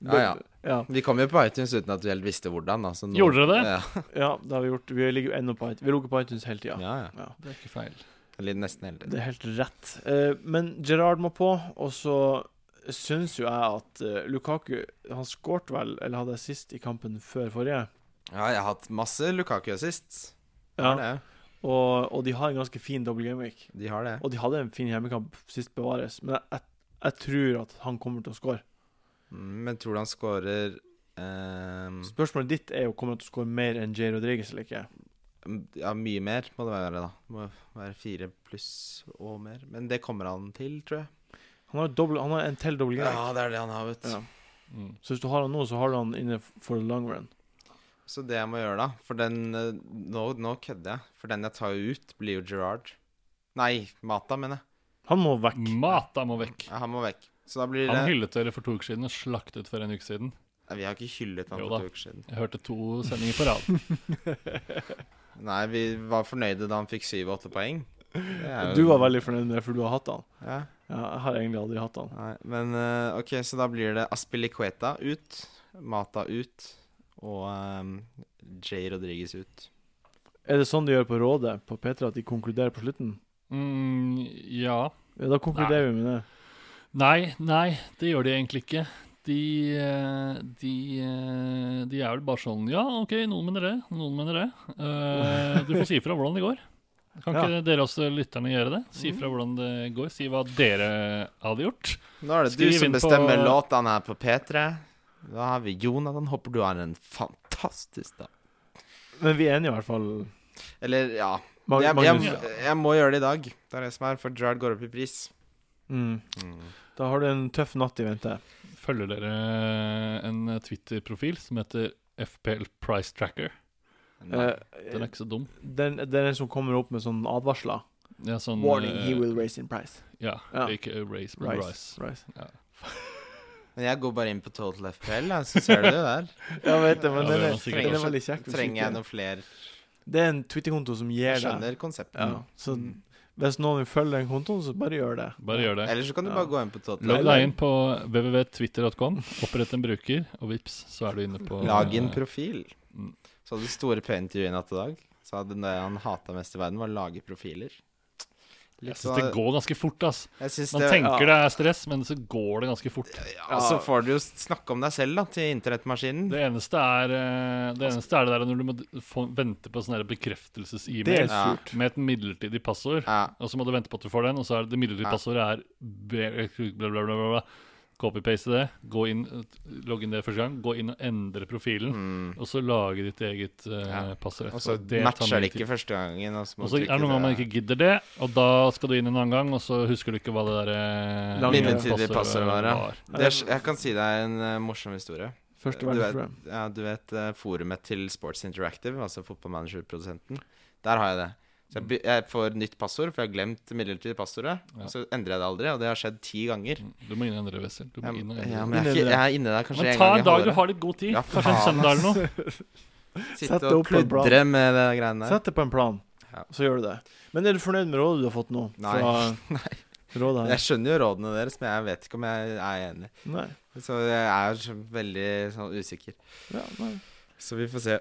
Speaker 3: *laughs* Ja, ja.
Speaker 1: Ja,
Speaker 3: Vi kom jo på iTunes uten at vi helt visste hvordan. Altså, nå-
Speaker 4: Gjorde dere det?
Speaker 3: Ja.
Speaker 1: ja, det har vi gjort. Vi ligger jo ennå på iTunes. Vi ligger på iTunes hele tida.
Speaker 3: Ja, ja.
Speaker 4: Det er ikke feil.
Speaker 3: Eller nesten hele tiden.
Speaker 1: Det er helt rett. Eh, men Gerard må på, og så syns jo jeg at eh, Lukaku Han skårte vel, eller hadde sist i kampen før forrige,
Speaker 3: Ja, jeg har hatt masse Lukaku assist. De
Speaker 1: Ja.
Speaker 3: har det.
Speaker 1: og, og de har en ganske fin double game week.
Speaker 3: De har det.
Speaker 1: Og de hadde en fin hjemmekamp sist bevares, men jeg, jeg, jeg tror at han kommer til å skåre.
Speaker 3: Mm, Men tror du han scorer ehm,
Speaker 1: Spørsmålet ditt er jo kommer han til å skåre mer enn Jay Rodriguez eller ikke.
Speaker 3: Ja, mye mer må det være, da. Må være fire pluss og mer. Men det kommer han til, tror jeg.
Speaker 1: Han har, dobbel- han har en til double game.
Speaker 3: Ja, det er det han har, vet du.
Speaker 1: Ja.
Speaker 4: Mm.
Speaker 1: Så hvis du har han nå, så har du han inne for the long run.
Speaker 3: Så det jeg må gjøre, da For den eh, Nå, nå kødder jeg. For den jeg tar ut, blir jo Gerrard. Nei, Mata, mener jeg.
Speaker 1: Han må vekk.
Speaker 3: Mm.
Speaker 1: *laughs*
Speaker 4: Mm. Mata må vekk.
Speaker 3: Ja, han må vekk. Så da blir det
Speaker 4: Han hyllet dere for to uker siden og slaktet for en uke siden.
Speaker 3: Nei, Vi har ikke hyllet han
Speaker 4: Jo
Speaker 3: for
Speaker 4: da.
Speaker 3: to uker siden.
Speaker 4: Jeg hørte to sendinger på rad. *laughs*
Speaker 3: Nei, vi var fornøyde da han fikk syv og åtte poeng. Det er jo-
Speaker 1: Du var veldig fornøyd med det, for du har hatt han.
Speaker 3: ja,
Speaker 1: Ja, jeg har egentlig aldri hatt han.
Speaker 3: nei, Men eh, OK, så da blir det Aspilicueta ut, Mata ut og eh, Jay Rodriguez ut.
Speaker 1: Er det sånn de gjør på Rådet på P3, at de konkluderer på slutten?
Speaker 4: Mm, ja.
Speaker 1: Ja, da konkluderer vi med det.
Speaker 4: Nei, nei, det gjør de egentlig ikke. De, eh, de, eh, de er vel bare sånn Ja, OK, noen mener det, noen mener det. Eh, du får si ifra hvordan det går. Kan ikke dere også lytterne gjøre det? Si
Speaker 1: Mm.
Speaker 4: ifra hvordan det går. Si hva dere hadde gjort.
Speaker 3: Nå er det
Speaker 4: Skriv
Speaker 3: du som
Speaker 4: inn på-
Speaker 3: bestemmer låtene her på P3. Da har vi Jonathan. Håper du har en fantastisk dag.
Speaker 1: Men vi er enige i hvert fall.
Speaker 3: Eller, ja
Speaker 1: Mag
Speaker 3: jeg, jeg,
Speaker 1: Magnus.
Speaker 3: jeg, må gjøre det i dag. Det er det som er, for Gerard går opp i pris.
Speaker 1: Mm. Da har du en tøff natt i vente.
Speaker 4: Følger dere en Twitter-profil som heter FPL Price Tracker?
Speaker 3: Nei.
Speaker 1: Eh,
Speaker 4: Den er ikke så dum.
Speaker 1: den, den er den som kommer opp med sånne advarsler.
Speaker 4: Det er sånn
Speaker 1: Warning,
Speaker 4: eh,
Speaker 1: he will raise in price.
Speaker 4: Ja,
Speaker 1: Ja.
Speaker 4: ikke raise, men
Speaker 1: Rise.
Speaker 4: rise.
Speaker 1: Rise.
Speaker 3: Men jeg går bare inn på Total FPL, da, så ser du det
Speaker 1: *laughs*
Speaker 3: der.
Speaker 1: Jeg vet det, men
Speaker 4: Ja,
Speaker 1: den, er,
Speaker 4: det var sikkert
Speaker 1: den er
Speaker 3: også-
Speaker 1: veldig kjekk. hvis
Speaker 3: Trenger jeg
Speaker 1: ikke-
Speaker 3: noen flere?
Speaker 1: Det er en Twitter-konto som gir
Speaker 3: Jeg
Speaker 1: deg
Speaker 3: skjønner Mm. konseptet.
Speaker 1: ja.
Speaker 4: Mm.
Speaker 1: Så hvis noen vil følge den kontoen, så bare gjør det.
Speaker 4: Bare gjør det.
Speaker 3: Eller så kan du
Speaker 1: Ja.
Speaker 3: bare gå inn på
Speaker 4: Logg
Speaker 3: Total.
Speaker 4: deg inn på www.twitter.com, opprett en bruker, og vips, så er du inne på
Speaker 3: Lag en profil.
Speaker 4: Mm.
Speaker 3: Så hadde du store P-intervjuet i natt og dag. Så hadde det han hata mest i verden, var å lage profiler.
Speaker 4: Jeg syns
Speaker 1: sånn-
Speaker 4: det går ganske fort, ass.
Speaker 3: Jeg syns
Speaker 4: Man
Speaker 3: det
Speaker 4: tenker det er stress, men så går det ganske fort.
Speaker 3: ja, Og så får du jo snakke om deg selv, da, til internettmaskinen.
Speaker 4: Det eneste er eh, det, eneste er det der når du må d- få, vente på sånn der
Speaker 1: Det er
Speaker 4: bekreftelses-e-mail
Speaker 3: Ja.
Speaker 1: surt.
Speaker 4: med et midlertidig passord,
Speaker 3: Ja.
Speaker 4: og så må du vente på at du får den, og så er det midlertidige
Speaker 3: Ja.
Speaker 4: passordet er be- eh, bla, bla, bla, bla, bla. Copy-paste det, gå inn, logg inn det første gang, gå inn og endre profilen,
Speaker 3: Mm.
Speaker 4: og så lage ditt eget eh,
Speaker 3: Ja.
Speaker 4: passord.
Speaker 3: Og så
Speaker 4: etterpå. tar mye
Speaker 3: matcher det
Speaker 4: tid.
Speaker 3: ikke første gangen. Og så må
Speaker 4: Og så
Speaker 3: du
Speaker 4: er
Speaker 3: trykke
Speaker 4: det noen ganger man
Speaker 3: det-
Speaker 4: ikke gidder det, og da skal du inn en annen gang, og så husker du ikke hva det der eh,
Speaker 1: Lange
Speaker 4: midlertidige
Speaker 3: passordet var, ja.
Speaker 4: var.
Speaker 3: det er, Jeg kan si deg en eh, morsom historie.
Speaker 1: Eh, Første
Speaker 3: Du vet,
Speaker 1: verdensprogram.
Speaker 3: ja, du vet eh, forumet til Sports Interactive, altså fotballmanagerprodusenten. Der har jeg det. Så jeg, by- jeg får nytt passord, for jeg har glemt midlertidig passordet.
Speaker 4: Ja.
Speaker 3: Og så endrer jeg det aldri, og det har skjedd ti ganger.
Speaker 4: Mm. Du må inn og endre Wessel. Du må
Speaker 3: Jeg,
Speaker 4: inn og
Speaker 3: ja,
Speaker 4: endre.
Speaker 1: Inne i
Speaker 3: men jeg er, ikke,
Speaker 1: det.
Speaker 3: jeg er inne der kanskje
Speaker 4: Men
Speaker 3: en
Speaker 4: ta
Speaker 3: gang i
Speaker 4: en dag du
Speaker 3: halvåret.
Speaker 4: har litt god tid.
Speaker 3: Ja,
Speaker 4: Kanskje en
Speaker 3: faen,
Speaker 4: søndag eller noe.
Speaker 1: Sett
Speaker 3: Sitte
Speaker 1: det
Speaker 3: og
Speaker 1: opp på en plan.
Speaker 3: kludre med de greiene der.
Speaker 1: Sett det på en plan,
Speaker 3: Ja.
Speaker 1: så gjør du det. Men er du fornøyd med rådet du har fått nå?
Speaker 3: Nei.
Speaker 1: Fra rådet
Speaker 3: Jeg
Speaker 1: her?
Speaker 3: skjønner jo rådene deres, men jeg vet ikke om jeg er enig.
Speaker 1: Nei.
Speaker 3: Så jeg er så veldig sånn usikker.
Speaker 1: Ja, nei.
Speaker 3: Så vi får se.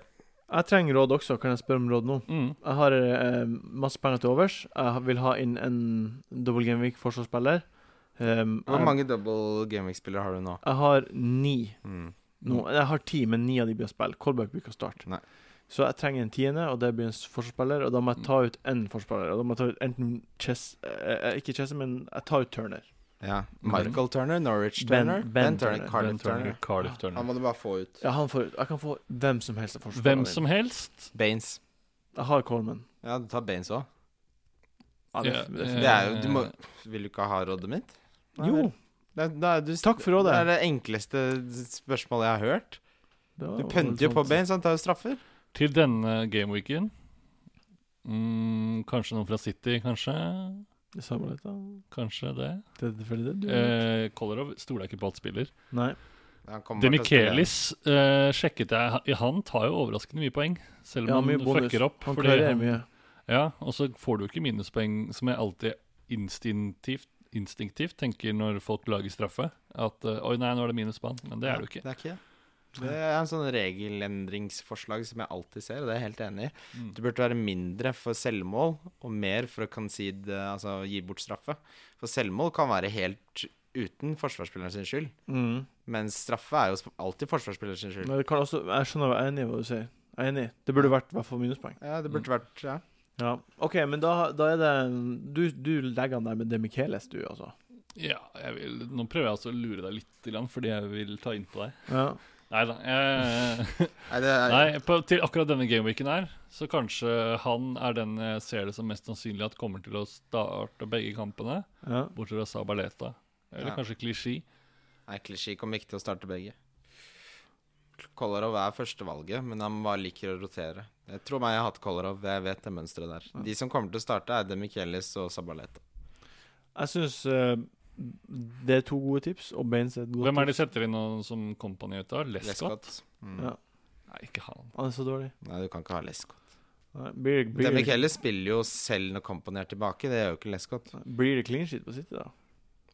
Speaker 1: Jeg trenger råd også. Kan jeg spørre om råd nå?
Speaker 4: Mm.
Speaker 1: Jeg har eh, masse penger til overs. Jeg vil ha inn en Double Game Week-forsvarsspiller. Um,
Speaker 3: Hvor
Speaker 1: jeg-
Speaker 3: mange double gaming-spillere har du nå?
Speaker 1: Jeg har ni
Speaker 3: Mm.
Speaker 1: nå. Jeg har ti, men ni av de blir å spille. Kolberg blir ikke å starte.
Speaker 3: Nei.
Speaker 1: Så jeg trenger en tiende, og det blir en s- forsvarsspiller. Og da må jeg ta ut én forsvarsspiller. Og da må jeg ta ut enten Chess eh, eh, Ikke Chess, men jeg tar ut Turner.
Speaker 3: Ja. Michael Turner, Norwich
Speaker 1: Ben-
Speaker 3: Turner,
Speaker 1: Ben
Speaker 3: Ben, Turner,
Speaker 1: Turner.
Speaker 4: Ben
Speaker 3: Cardiff Turner.
Speaker 4: Cardiff
Speaker 3: Han
Speaker 4: Turner.
Speaker 3: må du bare få ut.
Speaker 1: Ja, han får, jeg kan få hvem som helst av
Speaker 4: Hvem
Speaker 1: forsvarsspillerne.
Speaker 4: som helst.
Speaker 3: Baines.
Speaker 1: Jeg har Coleman.
Speaker 3: Ja, du tar Baines òg.
Speaker 1: Ja, det,
Speaker 4: Ja,
Speaker 1: det,
Speaker 4: eh,
Speaker 3: Det er jo Du må Vil du ikke ha rådet mitt?
Speaker 1: jo,
Speaker 3: Det, er- da er du,
Speaker 1: Takk for rådet.
Speaker 3: Det er det enkleste spørsmålet jeg har hørt.
Speaker 1: det var
Speaker 3: Du
Speaker 1: vel
Speaker 3: pønter jo på
Speaker 1: sånt.
Speaker 3: Baines, han tar jo straffer.
Speaker 4: Til denne gameweeken mm, Kanskje noen fra City, kanskje?
Speaker 1: Det samme litt, da.
Speaker 4: Kanskje det.
Speaker 1: Det er selvfølgelig
Speaker 3: Mm.
Speaker 1: det du
Speaker 4: Eh, Kolarov stoler jeg ikke på at spiller.
Speaker 1: Nei.
Speaker 3: Han kommer bare til å spille.
Speaker 4: Demichelis eh, sjekket jeg ha- Han tar jo overraskende mye poeng, selv
Speaker 1: Ja,
Speaker 4: om
Speaker 1: mye
Speaker 4: han
Speaker 1: bonus.
Speaker 4: fucker opp.
Speaker 1: Han
Speaker 4: fordi
Speaker 1: klarer
Speaker 4: han-
Speaker 1: mye.
Speaker 4: Ja, Og så får du ikke minuspoeng, som jeg alltid instinktivt, instinktivt tenker når folk lager straffe. At eh, 'oi, nei, nå er det minus på han', men det er det jo ikke.
Speaker 3: Det er ikke det. Det er en sånn regelendringsforslag som jeg alltid ser, og det er jeg helt enig i.
Speaker 4: Mm.
Speaker 3: Du burde være mindre for selvmål og mer for å concede, altså gi bort straffe. For selvmål kan være helt uten forsvarsspilleren sin skyld,
Speaker 1: Mm.
Speaker 3: mens straffe er jo sp- alltid forsvarsspilleren sin skyld.
Speaker 1: Men det kan også, jeg skjønner jeg er enig i hva du sier. Jeg er enig. Det burde vært i hvert fall minuspoeng.
Speaker 3: Ja, det burde
Speaker 4: Mm.
Speaker 3: vært ja.
Speaker 1: Ja. OK, men da, da er det Du, du legger han der med Demicheles, du, altså.
Speaker 4: Ja, jeg vil, Nå prøver jeg altså å lure deg litt, grann, fordi jeg vil ta innpå deg.
Speaker 1: Ja.
Speaker 4: Nei da. Jeg,
Speaker 3: Nei, det er,
Speaker 4: Nei, på, til akkurat denne gameweeken her, så kanskje han er den jeg ser det som mest sannsynlig at kommer til å starte begge kampene,
Speaker 1: ja.
Speaker 4: bortsett fra Sabaleta. Eller
Speaker 3: Ja.
Speaker 4: kanskje Klisjé.
Speaker 3: nei klisjé kommer ikke til å starte begge. Kolarov er førstevalget, men han bare liker å rotere. Jeg tror meg jeg har hatt Kolarov, jeg vet det mønsteret der. De som kommer til å starte, er Demichelis og Sabaleta.
Speaker 1: Jeg syns det er to gode tips, og Baines er et godt
Speaker 4: Hvem er det de
Speaker 1: tips.
Speaker 4: setter inn nå som company ut av? Lescott?
Speaker 3: Lescott. Mm.
Speaker 1: Ja.
Speaker 4: Nei, ikke han.
Speaker 1: Han er så dårlig.
Speaker 3: Nei, du kan ikke ha Lescott.
Speaker 1: Nei, Blir, blir,
Speaker 3: Demichelis spiller jo selv når Company er tilbake. Det gjør jo ikke Lescott.
Speaker 1: blir det clean sheet på City, da?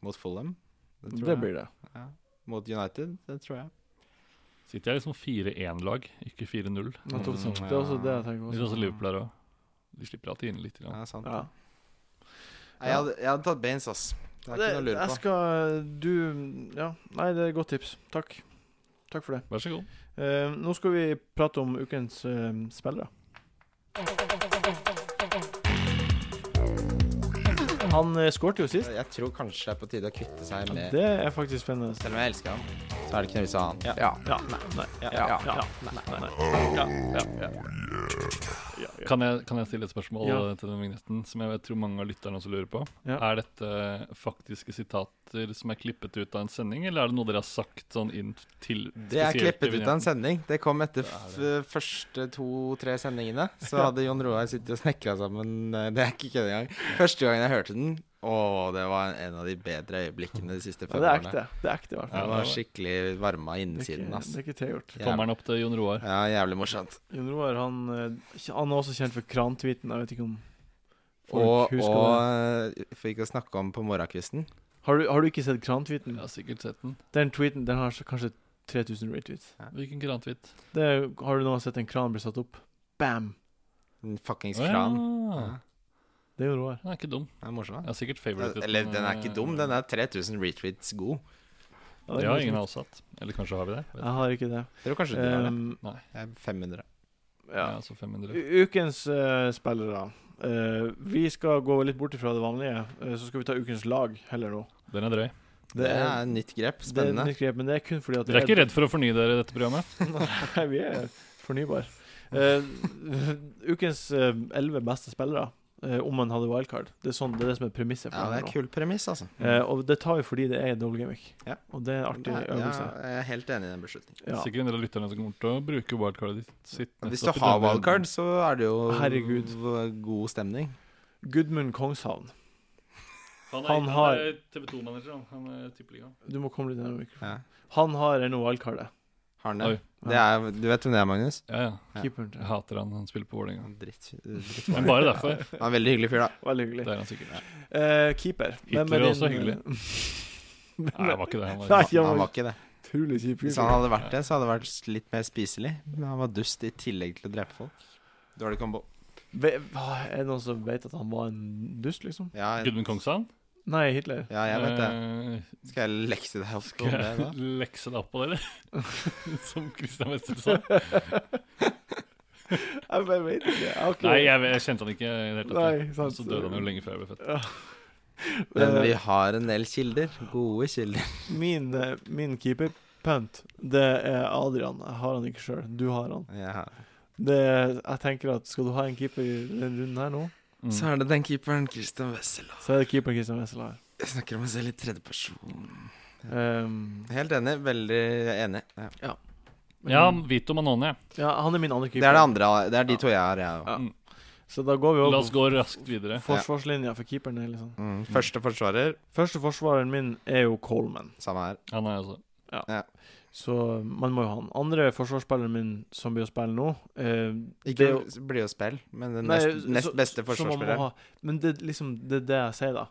Speaker 3: Mot Fulham. Det
Speaker 1: Det,
Speaker 3: tror jeg.
Speaker 1: blir det.
Speaker 3: Mot United. Det tror jeg.
Speaker 4: Sitter jeg liksom 4-1-lag, ikke 4-0.
Speaker 1: Nettopp.
Speaker 3: Mm,
Speaker 1: Det er også det jeg
Speaker 4: Det
Speaker 1: tenker
Speaker 4: er
Speaker 1: på.
Speaker 4: også Liverpool her òg. De slipper alltid inn litt. Grann.
Speaker 3: Ja, sant.
Speaker 1: Ja.
Speaker 3: Nei, jeg, hadde, jeg hadde tatt Baines, ass. Det er
Speaker 1: Det,
Speaker 3: ikke noe å lure
Speaker 1: jeg
Speaker 3: på.
Speaker 1: skal Du Ja, nei, det er et godt tips. Takk. Takk for det.
Speaker 4: Vær så god.
Speaker 1: Eh, nå skal vi prate om ukens eh, spillere. Han uh, skårte jo sist.
Speaker 3: Jeg tror kanskje det er på tide å kvitte seg med
Speaker 1: Det er faktisk spennende.
Speaker 3: Selv om jeg elsker han, så er det ikke noe vits i å ha han.
Speaker 1: Ja. ja. Nei. Nei.
Speaker 3: Ja.
Speaker 1: Ja. Ja. Nei. Nei. Ja. Ja. Ja. Ja. Ja.
Speaker 4: Kan jeg, kan jeg stille et spørsmål
Speaker 1: Ja.
Speaker 4: eh, til den vignetten som jeg vet, tror mange av lytterne også lurer på?
Speaker 1: Ja.
Speaker 4: Er dette faktiske sitater som er klippet ut av en sending, eller er det noe dere har sagt sånn inn til
Speaker 3: Det er klippet ut av en
Speaker 4: sending?
Speaker 3: sending. Det kom etter f første to-tre sendingene. Så hadde Jon Roar sittet og snekra sammen eh, Det er ikke kødd engang. Første gangen jeg hørte den, å, det var en av de bedre øyeblikkene de siste
Speaker 1: Ja,
Speaker 3: fem
Speaker 1: det er
Speaker 3: årene.
Speaker 1: ekte. Det er ekte, i hvert fall.
Speaker 3: Jeg
Speaker 4: Ja, det var-
Speaker 3: var skikkelig varma
Speaker 1: Det er
Speaker 3: innsiden,
Speaker 1: ikke,
Speaker 3: ass.
Speaker 1: det er ikke tilgjort.
Speaker 4: Kommer den opp til Jon Roar?
Speaker 3: Ja, jævlig morsomt.
Speaker 1: Jon Roar han, eh, han er også kjent for krantweeten. Jeg vet ikke om folk
Speaker 3: Og,
Speaker 1: husker
Speaker 3: og
Speaker 1: det.
Speaker 3: eh, for ikke å snakke om på morgenkvisten
Speaker 1: Har du, har du ikke sett krantweeten?
Speaker 4: Jeg har sikkert sett den.
Speaker 1: Den tweeten den har kanskje 3000 retweets.
Speaker 4: Hvilken grantvit?
Speaker 1: Det er, har du noen gang sett en kran bli satt opp? Bam!
Speaker 3: Den fuckings
Speaker 4: Å ja.
Speaker 3: kranen.
Speaker 1: Det er Jon Roar.
Speaker 4: Den er ikke dum.
Speaker 3: Den er morsom,
Speaker 4: Jeg har sikkert
Speaker 3: da.
Speaker 4: favoritet.
Speaker 3: Eh, Eller den er ikke dum, den er 3000 retweets god.
Speaker 1: Ja, det er
Speaker 4: Det har
Speaker 1: morsomt.
Speaker 4: ingen av oss hatt. Eller kanskje har vi det? Vet ikke.
Speaker 1: Jeg har ikke det.
Speaker 3: Jeg tror kanskje du har det.
Speaker 1: Um,
Speaker 3: Jeg er 500.
Speaker 1: ja.
Speaker 4: Ja, altså 500.
Speaker 1: U- Ukens eh, spillere. Eh, vi skal gå litt bort ifra det vanlige, eh, så skal vi ta ukens lag heller nå.
Speaker 4: Den er drøy.
Speaker 3: Det er et nytt grep. Spennende.
Speaker 1: Det er, et nytt grep, men det er kun fordi at
Speaker 4: Dere er ikke redd for å fornye dere i dette programmet?
Speaker 1: *laughs* Nei, *laughs* vi er fornybare. Eh, ukens eh, elleve beste spillere. eh, om man hadde wildcard. Det er, sånn, det er det som er premisset. for
Speaker 3: Ja, det
Speaker 1: det
Speaker 3: er
Speaker 1: her nå.
Speaker 3: kul premiss, altså.
Speaker 4: Mm.
Speaker 1: Eh, og det tar jo fordi det er en dårlig gimmick.
Speaker 3: Ja.
Speaker 1: Og det er en artig
Speaker 3: Ja,
Speaker 1: øvelse.
Speaker 3: jeg er helt enig i den beslutningen.
Speaker 1: Ja.
Speaker 4: Sikkert en del av lytterne som kommer til å bruke wildcardet ditt. sitt
Speaker 3: Hvis du
Speaker 4: nettopp i
Speaker 3: har
Speaker 4: denne-
Speaker 3: wildcard, så er det jo
Speaker 1: Herregud.
Speaker 3: v- god stemning.
Speaker 1: Gudmund Kongshavn.
Speaker 4: Han er,
Speaker 1: Han
Speaker 4: han
Speaker 1: har-
Speaker 4: er TV2-manager, han. Han er tippeliga.
Speaker 1: Du må komme litt nærmere mikrofonen.
Speaker 3: Ja.
Speaker 1: Han har ennå wildcardet.
Speaker 3: Har han
Speaker 4: Oi.
Speaker 3: det? det er, du vet hvem det er, Magnus?
Speaker 4: Ja, ja.
Speaker 3: Ja.
Speaker 1: Keeperen
Speaker 4: Jeg
Speaker 1: til.
Speaker 4: hater han. Han spiller på Vålerenga.
Speaker 3: Dritt.
Speaker 4: Men bare *laughs* derfor.
Speaker 3: Han er en veldig hyggelig fyr, da.
Speaker 1: Veldig hyggelig.
Speaker 4: Det er han sikkert.
Speaker 1: Eh, keeper.
Speaker 4: Hitler
Speaker 1: Hvem er
Speaker 4: er
Speaker 1: din-
Speaker 4: også
Speaker 1: *laughs*
Speaker 4: hyggelig. Nei, det var ikke det. Han
Speaker 1: Nei,
Speaker 4: var
Speaker 1: ja,
Speaker 3: Han
Speaker 1: men
Speaker 3: var ikke det.
Speaker 1: utrolig kjip
Speaker 3: Hvis han
Speaker 1: fyr.
Speaker 3: hadde vært det, så hadde det vært litt mer spiselig. Men han var dust i tillegg til å drepe folk. Dårlig kombo.
Speaker 1: Ve- hva- Er det noen som vet at han var en dust, liksom?
Speaker 3: Ja,
Speaker 4: Gudmund Kongshavn.
Speaker 1: Nei, Hitler.
Speaker 3: ja, jeg vet det.
Speaker 4: Eh,
Speaker 3: Skal jeg lekse deg opp om
Speaker 4: Skal
Speaker 3: det da?
Speaker 4: jeg *laughs* lekse deg opp på det, *laughs* eller? Som Christian Wester *laughs* sa.
Speaker 1: *laughs* Jeg bare vet ikke. Jeg har ikke-
Speaker 4: Nei, jeg, jeg kjente han ikke i det hele tatt.
Speaker 1: Nei,
Speaker 4: jeg.
Speaker 1: sant.
Speaker 4: Så døde han jo lenge før jeg ble født.
Speaker 3: Men
Speaker 1: Eh,
Speaker 3: vi har en del kilder. Gode kilder.
Speaker 1: Min, eh, min keeperpunt, det er Adrian. Jeg har han ikke sjøl. Du har han.
Speaker 3: Ja.
Speaker 1: Det, jeg tenker at Skal du ha en keeper i denne runden her nå,
Speaker 4: Mm.
Speaker 3: Så er det den keeperen, Christian Wessel.
Speaker 1: så er det keeper Christian Wessel her.
Speaker 3: Jeg snakker om meg selv i tredjeperson.
Speaker 1: Um,
Speaker 3: Helt enig. Veldig enig. Ja.
Speaker 4: Ja, Vito Manone.
Speaker 1: ja, han er min andre
Speaker 3: Det
Speaker 1: keeper.
Speaker 3: er det andre. Det er de to jeg har. Jeg. også.
Speaker 1: Ja. Så da går vi
Speaker 4: La oss
Speaker 1: over på
Speaker 4: gå raskt videre.
Speaker 1: forsvarslinja for keeperen. er Liksom.
Speaker 3: Mm. Første forsvarer.
Speaker 1: Første forsvareren min er jo Coleman.
Speaker 3: Samme her.
Speaker 4: Han er altså
Speaker 1: Så man må jo ha han. Andre forsvarsspilleren min som blir å spille nå eh,
Speaker 3: Ikke
Speaker 1: det er jo-
Speaker 3: det blir jo spill, men den
Speaker 1: Nei,
Speaker 3: nest, nest
Speaker 1: så-
Speaker 3: beste
Speaker 1: så man må
Speaker 3: forsvarsspilleren.
Speaker 1: ha- Men det, er liksom, det er det jeg sier, da.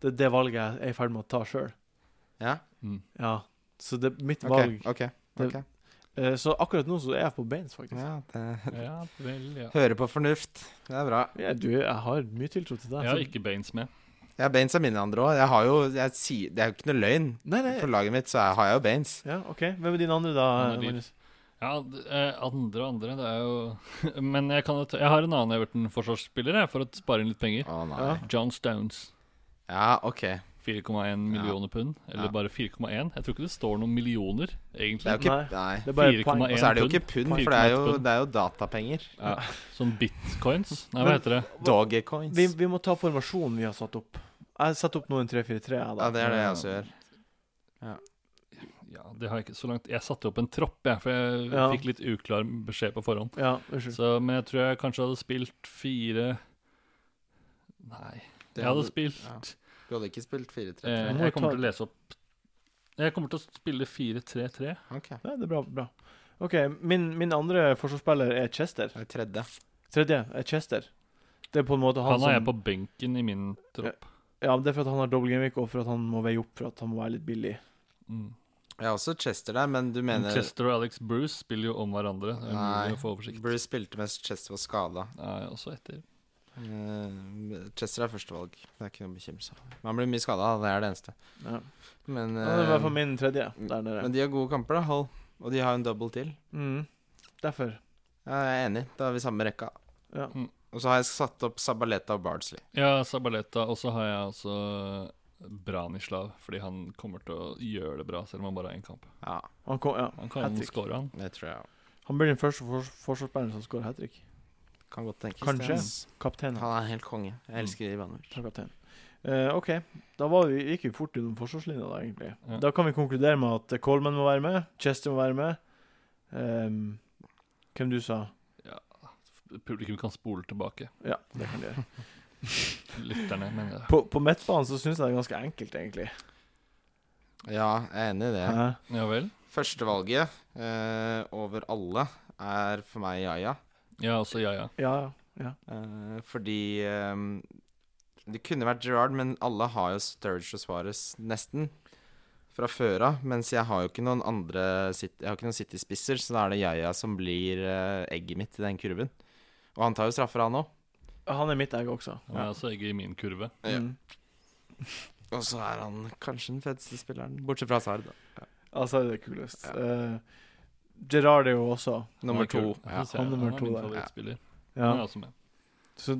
Speaker 1: Det er det valget jeg er i ferd med å ta sjøl.
Speaker 3: Ja?
Speaker 4: mm.
Speaker 1: Ja. Så det er mitt
Speaker 3: Ok.
Speaker 1: valg.
Speaker 3: ok,
Speaker 1: Det-
Speaker 3: ok.
Speaker 1: Eh, så akkurat nå så er jeg på beins, faktisk.
Speaker 3: Ja, det
Speaker 4: Ja vel, ja.
Speaker 3: Høre på fornuft. Det er bra.
Speaker 1: Ja, du, jeg har mye tiltro til deg.
Speaker 4: Jeg har
Speaker 1: så-
Speaker 4: ikke Baines med.
Speaker 3: Ja, Baines er mine andre òg. Jeg har jo jeg sier, Det er jo ikke noe løgn.
Speaker 1: Nei,
Speaker 3: På
Speaker 1: nei.
Speaker 3: laget mitt så er- har jeg jo Baines.
Speaker 1: Ja, OK. Hvem er din andre, da?
Speaker 4: Han er dyr.
Speaker 1: Magnus?
Speaker 4: Ja, d- eh, andre og andre, det er jo *laughs* Men jeg, kan, jo ta- jeg har en annen Everton-forsvarsspiller, jeg, for å spare inn litt penger.
Speaker 3: Å nei.
Speaker 1: Ja.
Speaker 3: Ja,
Speaker 4: John Stones.
Speaker 3: ok.
Speaker 4: 4,1 millioner pund. Eller
Speaker 3: Ja.
Speaker 4: bare 4,1. Jeg tror ikke det står noen millioner,
Speaker 3: Det er
Speaker 4: egentlig.
Speaker 3: jo ikke Nei.
Speaker 1: Det er bare poeng.
Speaker 4: 4,1
Speaker 3: Og så er det jo
Speaker 4: pund.
Speaker 3: ikke pund, for det er jo, det er jo datapenger.
Speaker 4: Ja, som bitcoins? Nei, hva
Speaker 1: Men-
Speaker 4: heter det?
Speaker 3: Dogecoins.
Speaker 1: Vi, vi må ta formasjonen vi har satt opp. Jeg setter opp nå en 3-4-3, jeg, da.
Speaker 3: Ja, det er det jeg også gjør.
Speaker 4: Ja, det har jeg ikke så langt Jeg satte opp en tropp, jeg, for jeg
Speaker 1: Ja. Mm.
Speaker 4: fikk litt uklar beskjed på forhånd.
Speaker 1: Ja, unnskyld.
Speaker 4: Så, men jeg tror jeg kanskje hadde spilt fire Nei,
Speaker 3: Det
Speaker 4: jeg hadde
Speaker 3: hadde-
Speaker 4: spilt
Speaker 3: ja. Du hadde ikke spilt 4-3?
Speaker 4: eh,
Speaker 1: Må
Speaker 4: Jeg
Speaker 1: ta-
Speaker 4: kommer til å lese opp Jeg kommer til å spille 4-3-3.
Speaker 3: Ok.
Speaker 1: Ja, det er bra. bra. OK, min, min andre forsvarsspiller er Chester.
Speaker 3: Det er tredje.
Speaker 1: Tredje er Chester. Det er på en måte han,
Speaker 4: Han har jeg
Speaker 1: som
Speaker 4: på benken i min tropp.
Speaker 1: Ja, men det er for at han har dobbel gimmick, og for at han må veie opp for at han må være litt billig.
Speaker 4: Mm.
Speaker 3: Jeg har også Chester der, men du
Speaker 4: Men
Speaker 3: mener
Speaker 4: Mm, Chester og Alex Bruce spiller jo om hverandre. Det er
Speaker 3: Nei.
Speaker 4: umulig å få oversikt.
Speaker 3: Bruce spilte mens Chester var skada.
Speaker 4: Nei, også etter.
Speaker 3: Eh, Chester er førstevalg. Det er ikke noe bekymrelse. Men han blir mye skada, det er det eneste.
Speaker 1: Ja.
Speaker 3: Men,
Speaker 1: Han er i hvert fall
Speaker 3: eh,
Speaker 1: min tredje der nede.
Speaker 3: men de har gode kamper, da, Hull. Og de har en double til.
Speaker 1: Mm. Derfor.
Speaker 3: Ja, jeg er enig. Da er vi samme rekka.
Speaker 1: Ja.
Speaker 4: Mm.
Speaker 3: Og så har jeg satt opp Sabaleta og Bardsley.
Speaker 4: Ja, Sabaleta. Og så har jeg altså Branislav, fordi han kommer til å gjøre det bra, selv om han bare har én kamp.
Speaker 3: Ja,
Speaker 1: Han, kom, ja.
Speaker 4: Han kan
Speaker 1: Hat-trick.
Speaker 4: score, han.
Speaker 3: det tror jeg også.
Speaker 1: han blir den første fors forsvarsspilleren som skårer hat trick.
Speaker 3: kan godt tenkes.
Speaker 1: Kanskje.
Speaker 3: det, ass. Mm.
Speaker 1: Kaptein.
Speaker 3: Han er helt konge. Jeg elsker Ivanovic.
Speaker 1: Han er kaptein. Eh, OK, da var vi, gikk vi fort gjennom forsvarslinja, da, egentlig.
Speaker 4: Ja.
Speaker 1: Da kan vi konkludere med at Coleman må være med, Chester må være med. Ehm, hvem du sa?
Speaker 4: Publikum kan spole tilbake.
Speaker 1: Ja, det kan du gjøre.
Speaker 4: Lytterne, men ja.
Speaker 1: På, på midtbanen så syns jeg det er ganske enkelt, egentlig.
Speaker 3: Ja, jeg er enig i det.
Speaker 1: Hæ?
Speaker 4: ja vel.
Speaker 3: Førstevalget eh, over alle er for meg Yaya.
Speaker 4: Ja, også ja, ja.
Speaker 1: Ja, ja. ja.
Speaker 3: Eh, fordi ehm, Det kunne vært Gerard, men alle har jo Sturridge og Suarez nesten fra før av. Mens jeg har jo ikke noen andre sit- Jeg har ikke noen City-spisser, så da er det Yaya som blir eh, egget mitt i den kurven. Og han tar jo straffer, han òg.
Speaker 1: Han er mitt egg også.
Speaker 4: Han er også ikke i min kurve.
Speaker 3: Ja.
Speaker 1: Mm.
Speaker 3: Og så er han kanskje den feteste spilleren, bortsett fra Sard.
Speaker 1: Altså, det er kulest. Eh, Gerard er jo også
Speaker 3: Nummer
Speaker 4: Han er kul.
Speaker 3: to.
Speaker 4: Ja,
Speaker 3: Ja.
Speaker 4: så ser jeg.
Speaker 1: han nummer
Speaker 4: er
Speaker 1: to
Speaker 4: min
Speaker 1: der.
Speaker 4: favorittspiller. Han er
Speaker 1: Ja,
Speaker 4: også med.
Speaker 1: så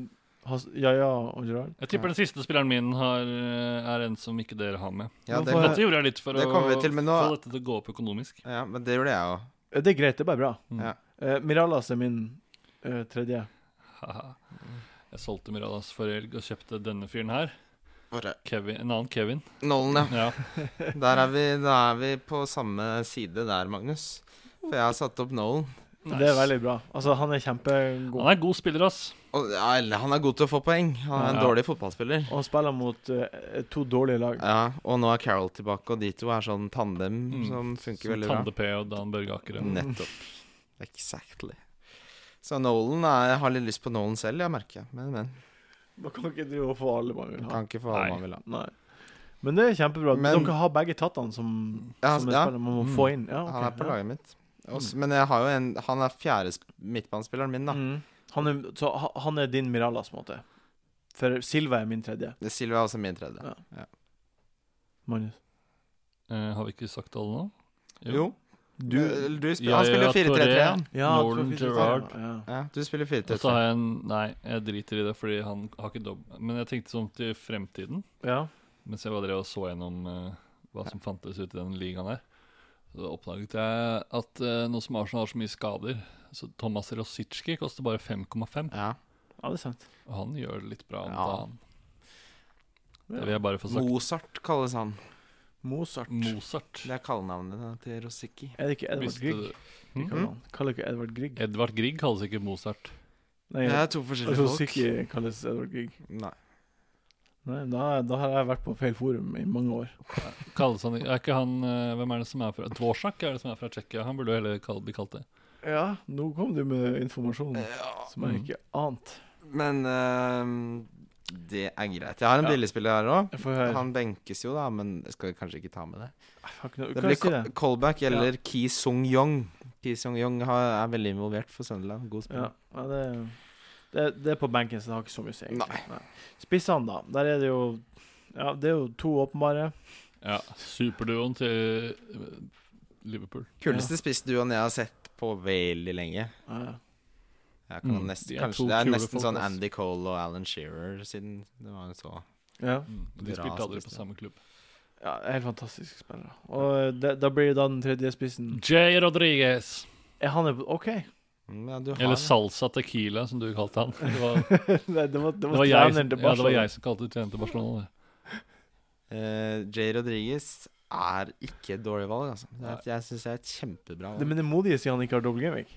Speaker 1: has- ja, ja og Gerard.
Speaker 4: Jeg tipper den siste spilleren min har, eh, er en som ikke dere har med.
Speaker 3: Ja, det,
Speaker 1: Hvorfor-
Speaker 4: Dette gjorde jeg litt for å
Speaker 3: det kommer vi til, men nå-
Speaker 4: få dette til å gå opp økonomisk.
Speaker 3: ja, men det gjorde jeg òg.
Speaker 1: Eh,
Speaker 3: Mm.
Speaker 1: Det Eh, er greit, det er bare bra.
Speaker 4: Mm.
Speaker 3: Ja.
Speaker 1: Eh, Miralas er min eh, tredje.
Speaker 4: Haha. Jeg solgte Miradas forrige helg og kjøpte denne fyren her.
Speaker 3: Hvor er
Speaker 4: Kevin, en annen Kevin. *laughs*
Speaker 3: Nollen, ja. *laughs*
Speaker 4: Ja,
Speaker 3: Der er, vi, da er vi på samme side der, Magnus. For jeg har satt opp Nolan.
Speaker 1: Det er veldig bra. Altså, han er kjempegod.
Speaker 4: Han er god spiller, ass.
Speaker 3: Og, ja, eller han er god til å få poeng. Han er en
Speaker 4: Ja.
Speaker 3: dårlig fotballspiller.
Speaker 1: Og han spiller mot eh, to dårlige lag.
Speaker 3: Ja, Og nå er Carol tilbake, og de to er sånn tandem
Speaker 4: Mm.
Speaker 3: som funker
Speaker 4: Som
Speaker 3: veldig bra.
Speaker 4: Tande P og Dan Børge Akerø.
Speaker 3: Nettopp. Exactly. Så Nolan er, jeg har litt lyst på Nolan selv, jeg merker jeg. Men, men.
Speaker 1: Man kan ikke drive og få alle man vil ha.
Speaker 3: Kan ikke få hva
Speaker 4: Nei.
Speaker 3: man vil ha.
Speaker 1: Nei. Men det er kjempebra.
Speaker 3: Men-
Speaker 1: Dere har begge tatt han som,
Speaker 3: Ja,
Speaker 1: som en
Speaker 3: ja.
Speaker 1: spiller man må
Speaker 4: Mm.
Speaker 1: få inn. Ja, ok,
Speaker 3: Han er på
Speaker 1: ja.
Speaker 3: laget mitt. Også, men jeg har jo en Han er fjerde sp- midtbanespilleren min, da.
Speaker 1: Mm. Han, er, så, ha- han er din Miralas, på en måte. For Silva er min tredje.
Speaker 3: Silva er også min tredje.
Speaker 1: Ja. Magnus.
Speaker 4: Eh, har vi ikke sagt alle nå?
Speaker 3: Jo. Du,
Speaker 1: Du
Speaker 3: du spiller,
Speaker 4: Ja,
Speaker 3: han spiller
Speaker 4: ja,
Speaker 3: 4-3-3. han.
Speaker 1: ja, jeg tror
Speaker 4: Nolan,
Speaker 1: faktisk det er
Speaker 4: Gerrard.
Speaker 1: han, ja.
Speaker 3: Ja, du spiller
Speaker 4: Og så
Speaker 3: 4-3-3.
Speaker 4: har jeg en Nei, jeg driter i det, fordi han har ikke dobb... Men jeg tenkte sånn til fremtiden,
Speaker 1: Ja.
Speaker 4: mens jeg var drev og så gjennom eh, hva som fantes ute i den ligaen her. Så oppdaget jeg at eh, nå som Arsenal har så mye skader, så Thomas Rosicki koster bare 5,5.
Speaker 3: Ja.
Speaker 1: ja, det er sant.
Speaker 4: Og han gjør det litt bra.
Speaker 3: Ja.
Speaker 4: Ja. Det vil jeg bare få sagt.
Speaker 3: Mozart kalles han.
Speaker 1: Mozart.
Speaker 4: Mozart.
Speaker 3: Det er kallenavnet til Rosicki.
Speaker 1: Er det ikke Edvard
Speaker 4: Visste
Speaker 1: Grieg?
Speaker 4: du-
Speaker 1: De
Speaker 4: Hm?
Speaker 1: kaller han. Kaller ikke Edvard Grieg?
Speaker 4: Edvard Grieg kalles ikke Mozart.
Speaker 1: Nei,
Speaker 3: Det er to forskjellige folk.
Speaker 1: Rosicki kalles Edvard Grieg.
Speaker 3: Nei.
Speaker 1: Nei, da, da har jeg vært på feil forum i mange år.
Speaker 4: Kalles han, er ikke han, eh, hvem er det som er fra Dvorsak er det som er fra Tsjekkia. Han burde jo heller kall- bli kalt det.
Speaker 1: Ja, mm. nå kom du med informasjon
Speaker 3: Ja,
Speaker 1: som jeg ikke ante.
Speaker 3: men eh, det er greit. Jeg har en
Speaker 1: Ja.
Speaker 3: billigspiller her òg.
Speaker 1: Jeg får høre.
Speaker 3: Han benkes jo, da, men jeg skal kanskje ikke ta med det.
Speaker 1: Jeg har ikke noe
Speaker 3: Det
Speaker 1: Hva
Speaker 3: blir
Speaker 1: sier det?
Speaker 3: ca- callback eller Ki Sung-yong. Ki Sung-yong har- er veldig involvert for Sunderland. God
Speaker 1: Ja,
Speaker 3: spiller.
Speaker 1: ja det, det, det er på benken, så det har ikke så mye å si. egentlig.
Speaker 3: Nei.
Speaker 1: Nei. Spissene, da. Der er det jo Ja, det er jo to åpenbare.
Speaker 4: Ja, Superduoen til eh, Liverpool.
Speaker 3: Kuleste spissduoen jeg har sett på veldig lenge.
Speaker 1: Ja,
Speaker 3: Jeg kan
Speaker 4: Mm,
Speaker 3: nesten,
Speaker 4: de er
Speaker 3: kanskje,
Speaker 4: to
Speaker 3: det er
Speaker 4: kule
Speaker 3: nesten
Speaker 4: folk,
Speaker 3: sånn
Speaker 4: ass.
Speaker 3: Andy Cole og Alan Shearer siden det var jo så
Speaker 1: ja.
Speaker 4: Mm, De
Speaker 3: Bra
Speaker 4: spilte aldri på
Speaker 3: spiss,
Speaker 4: samme klubb.
Speaker 1: ja det er helt fantastiske spillere. Og det, da blir det da den tredje spissen.
Speaker 4: Jay Rodriguez.
Speaker 1: Er han er på- *laughs* OK.
Speaker 3: Mm, ja, du har
Speaker 4: Eller
Speaker 3: det.
Speaker 4: Salsa Tequila, som du kalte han. Det var, det
Speaker 1: Nei, *laughs* det var, det var,
Speaker 4: var, jeg,
Speaker 1: treneren til
Speaker 4: som- ja, det var
Speaker 1: Barcelona.
Speaker 4: jeg som kalte treneren til Barcelona. det.
Speaker 3: Eh, Jay Rodriguez er ikke et dårlig valg, altså. Det er, et- jeg syns det er et kjempebra
Speaker 1: Det-
Speaker 3: valg.
Speaker 1: Men det modige sier han ikke har dobbel gimmick.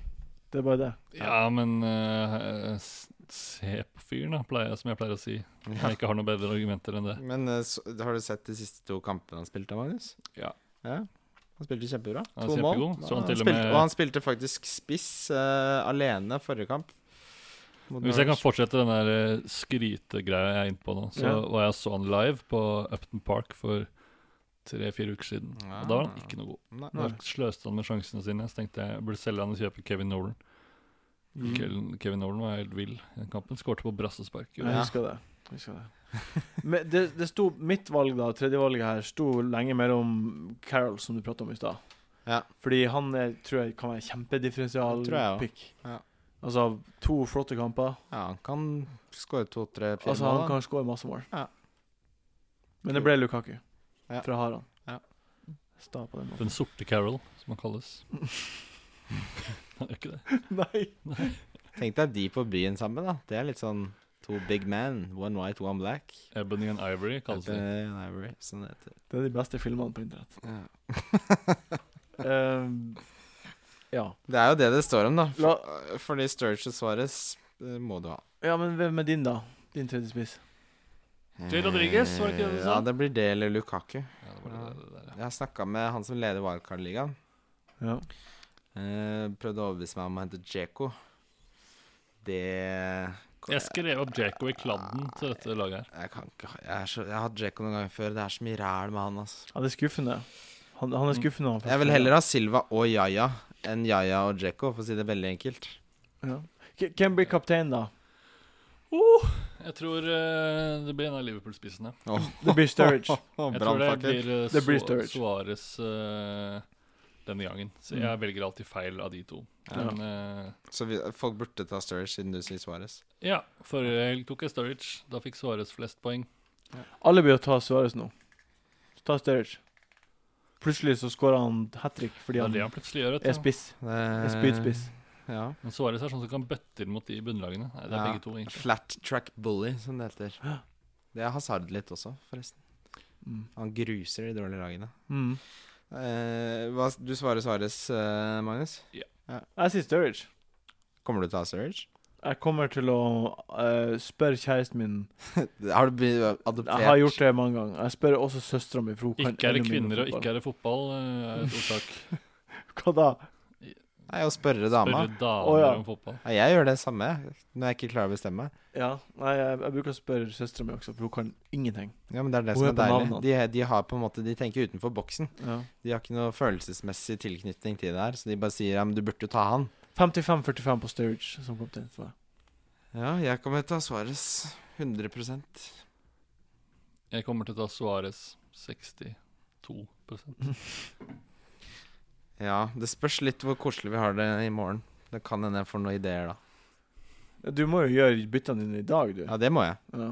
Speaker 1: Det er bare det.
Speaker 4: Ja, men eh, s- se på fyren, da, pleier, jeg- som jeg pleier å si. Når jeg ikke har noen bedre argumenter enn det.
Speaker 3: Men eh, så, har du sett de siste to kampene han spilte, Magnus?
Speaker 4: Ja.
Speaker 3: ja. Han spilte kjempebra.
Speaker 4: Han
Speaker 3: to
Speaker 4: er
Speaker 3: mål.
Speaker 4: kjempegod. Så han til og
Speaker 3: spilte,
Speaker 4: med-
Speaker 3: og han spilte faktisk spiss eh, alene forrige kamp. Mot
Speaker 4: Hvis jeg kan
Speaker 3: Norwich.
Speaker 4: fortsette den der eh, skrytegreia jeg er inne på nå, så
Speaker 1: Ja.
Speaker 4: var jeg og så han live på Upton Park for tre-fire uker siden. Og da var han
Speaker 3: Ja.
Speaker 4: ikke noe god.
Speaker 3: Nei.
Speaker 1: Nei.
Speaker 4: Da sløste han med sjansene sine. Så tenkte jeg jeg burde selge han og kjøpe Kevin Nolan.
Speaker 1: Mm.
Speaker 4: Kevin- Kevin Nolan var helt vill i den kampen. Skårte på brassespark.
Speaker 1: Ja, Jeg husker det. Jeg husker det. Men det, det sto, mitt valg, da, tredjevalget her, sto lenge mellom Carol, som du pratet om i stad.
Speaker 3: Ja.
Speaker 1: Fordi han er, tror jeg kan være
Speaker 3: Det tror jeg også.
Speaker 1: kjempedifferensialpick.
Speaker 3: Ja.
Speaker 1: Altså to flotte kamper.
Speaker 3: Ja, han kan skåre to, tre, fire
Speaker 1: Altså
Speaker 3: mål.
Speaker 1: Han
Speaker 3: da.
Speaker 1: kan skåre masse mål.
Speaker 3: Ja.
Speaker 1: Men det ble Lukaku
Speaker 3: Ja.
Speaker 1: fra Haran.
Speaker 3: Ja.
Speaker 1: Sta på den måten.
Speaker 4: Den sorte Carol, som han kalles. han gjør ikke det.
Speaker 1: *laughs* Nei!
Speaker 3: Tenk deg de på byen sammen, da. Det er litt sånn to big men. One white, one black.
Speaker 4: Ebony and Ivory kalles
Speaker 3: Heter
Speaker 4: det.
Speaker 3: det en Ivory, sånn det heter.
Speaker 1: Det er de beste filmene på internett.
Speaker 3: Ja.
Speaker 1: Ehm, ja.
Speaker 3: Det er jo det det står om, da.
Speaker 1: La,
Speaker 3: Fordi Sturge og Suarez eh, må du ha.
Speaker 1: ja, men hvem er din, da? Din tredje spiss?
Speaker 4: Jay Rodriguez, var det ikke det du sa?
Speaker 3: Ja, det blir det eller Lukaku.
Speaker 4: Ja, det var det, det, der, ja.
Speaker 3: Jeg har snakka med han som leder Wildcard-ligaen.
Speaker 1: Ja.
Speaker 3: Eh, prøvde å overbevise meg om å hente Djeko. Det
Speaker 4: Jeg skrev opp Jaco i kladden til dette laget her.
Speaker 3: Jeg kan ikke ha- jeg, er så, jeg har hatt Djeko noen ganger før. Det er så mye ræl med han, altså.
Speaker 1: Ja, det er skuffende. Han, han er skuffende. Han
Speaker 3: Jeg vil heller ha Silva og Yaya enn Yaya og Djeko, for å si det veldig enkelt.
Speaker 1: ja. K- Hvem blir kaptein, da? Oh!
Speaker 4: Jeg tror eh, det blir en av Liverpool-spissene.
Speaker 3: *laughs*
Speaker 1: Det blir Sturridge.
Speaker 4: Jeg tror det blir, eh,
Speaker 1: Det blir
Speaker 4: Su-
Speaker 1: Sturridge.
Speaker 4: Suarez eh, denne gangen. Så
Speaker 1: Mm.
Speaker 4: jeg velger alltid feil av de to.
Speaker 1: Ja.
Speaker 4: Men eh,
Speaker 3: Så vi, folk burde ta Sturridge, siden du sier Suarez.
Speaker 4: ja, forrige helg tok jeg Sturridge. Da fikk Suarez flest poeng.
Speaker 1: Alle blir å ta Suarez nå. Ta Sturridge. Plutselig så skårer han hat trick
Speaker 4: Det
Speaker 1: fordi
Speaker 4: er
Speaker 1: han
Speaker 4: det han plutselig gjør.
Speaker 1: er
Speaker 4: Vet du.
Speaker 1: spiss. Er spydspiss.
Speaker 3: Eh, Ja.
Speaker 4: Men Suarez er sånn som kan bøtte inn mot de bunnlagene. Nei, det er
Speaker 3: Ja.
Speaker 4: begge to, egentlig.
Speaker 3: Flat track bully, som det heter. Det er Hazard litt også, forresten.
Speaker 1: Mm.
Speaker 3: Han gruser de dårlige lagene.
Speaker 1: Mm.
Speaker 3: Eh, hva, du svarer Suarez, eh, Magnus.
Speaker 1: Jeg sier Sturridge.
Speaker 3: Kommer du til å ha Surge?
Speaker 1: Jeg kommer til å eh, spørre kjæresten min
Speaker 3: *laughs* Har du blitt adoptert?
Speaker 1: Jeg har gjort det mange ganger. Jeg spør også søstera mi.
Speaker 4: Ikke er det kvinner, og ikke er det fotball, eh, er et
Speaker 3: *laughs*
Speaker 4: ordtak.
Speaker 1: Hva da?
Speaker 3: Nei, å spørre dama.
Speaker 4: Spørre damer
Speaker 1: Å, ja.
Speaker 4: om fotball.
Speaker 3: Ja, jeg gjør det samme jeg, når jeg ikke klarer å bestemme.
Speaker 1: Ja, nei, jeg, jeg bruker å spørre søstera mi også, for hun kan ingenting.
Speaker 3: Ja, men Det er det
Speaker 1: Hun
Speaker 3: som
Speaker 1: er
Speaker 3: er
Speaker 1: på
Speaker 3: deilig.
Speaker 1: navnet.
Speaker 3: De, de har på en måte, de tenker utenfor boksen.
Speaker 1: Ja.
Speaker 3: De har ikke noe følelsesmessig tilknytning til det her, så de bare sier ja, men du burde jo ta han.
Speaker 1: 55-45 på Sturridge som kaptein for meg.
Speaker 3: Ja, jeg kommer til å ta Suarez. 100
Speaker 4: Jeg kommer til å ta Suarez 62
Speaker 3: Ja, det spørs litt hvor koselig vi har det i morgen. Det kan hende jeg får noen ideer da.
Speaker 1: Du må jo gjøre byttene dine i dag, du.
Speaker 3: Ja, det må jeg.
Speaker 1: Ja.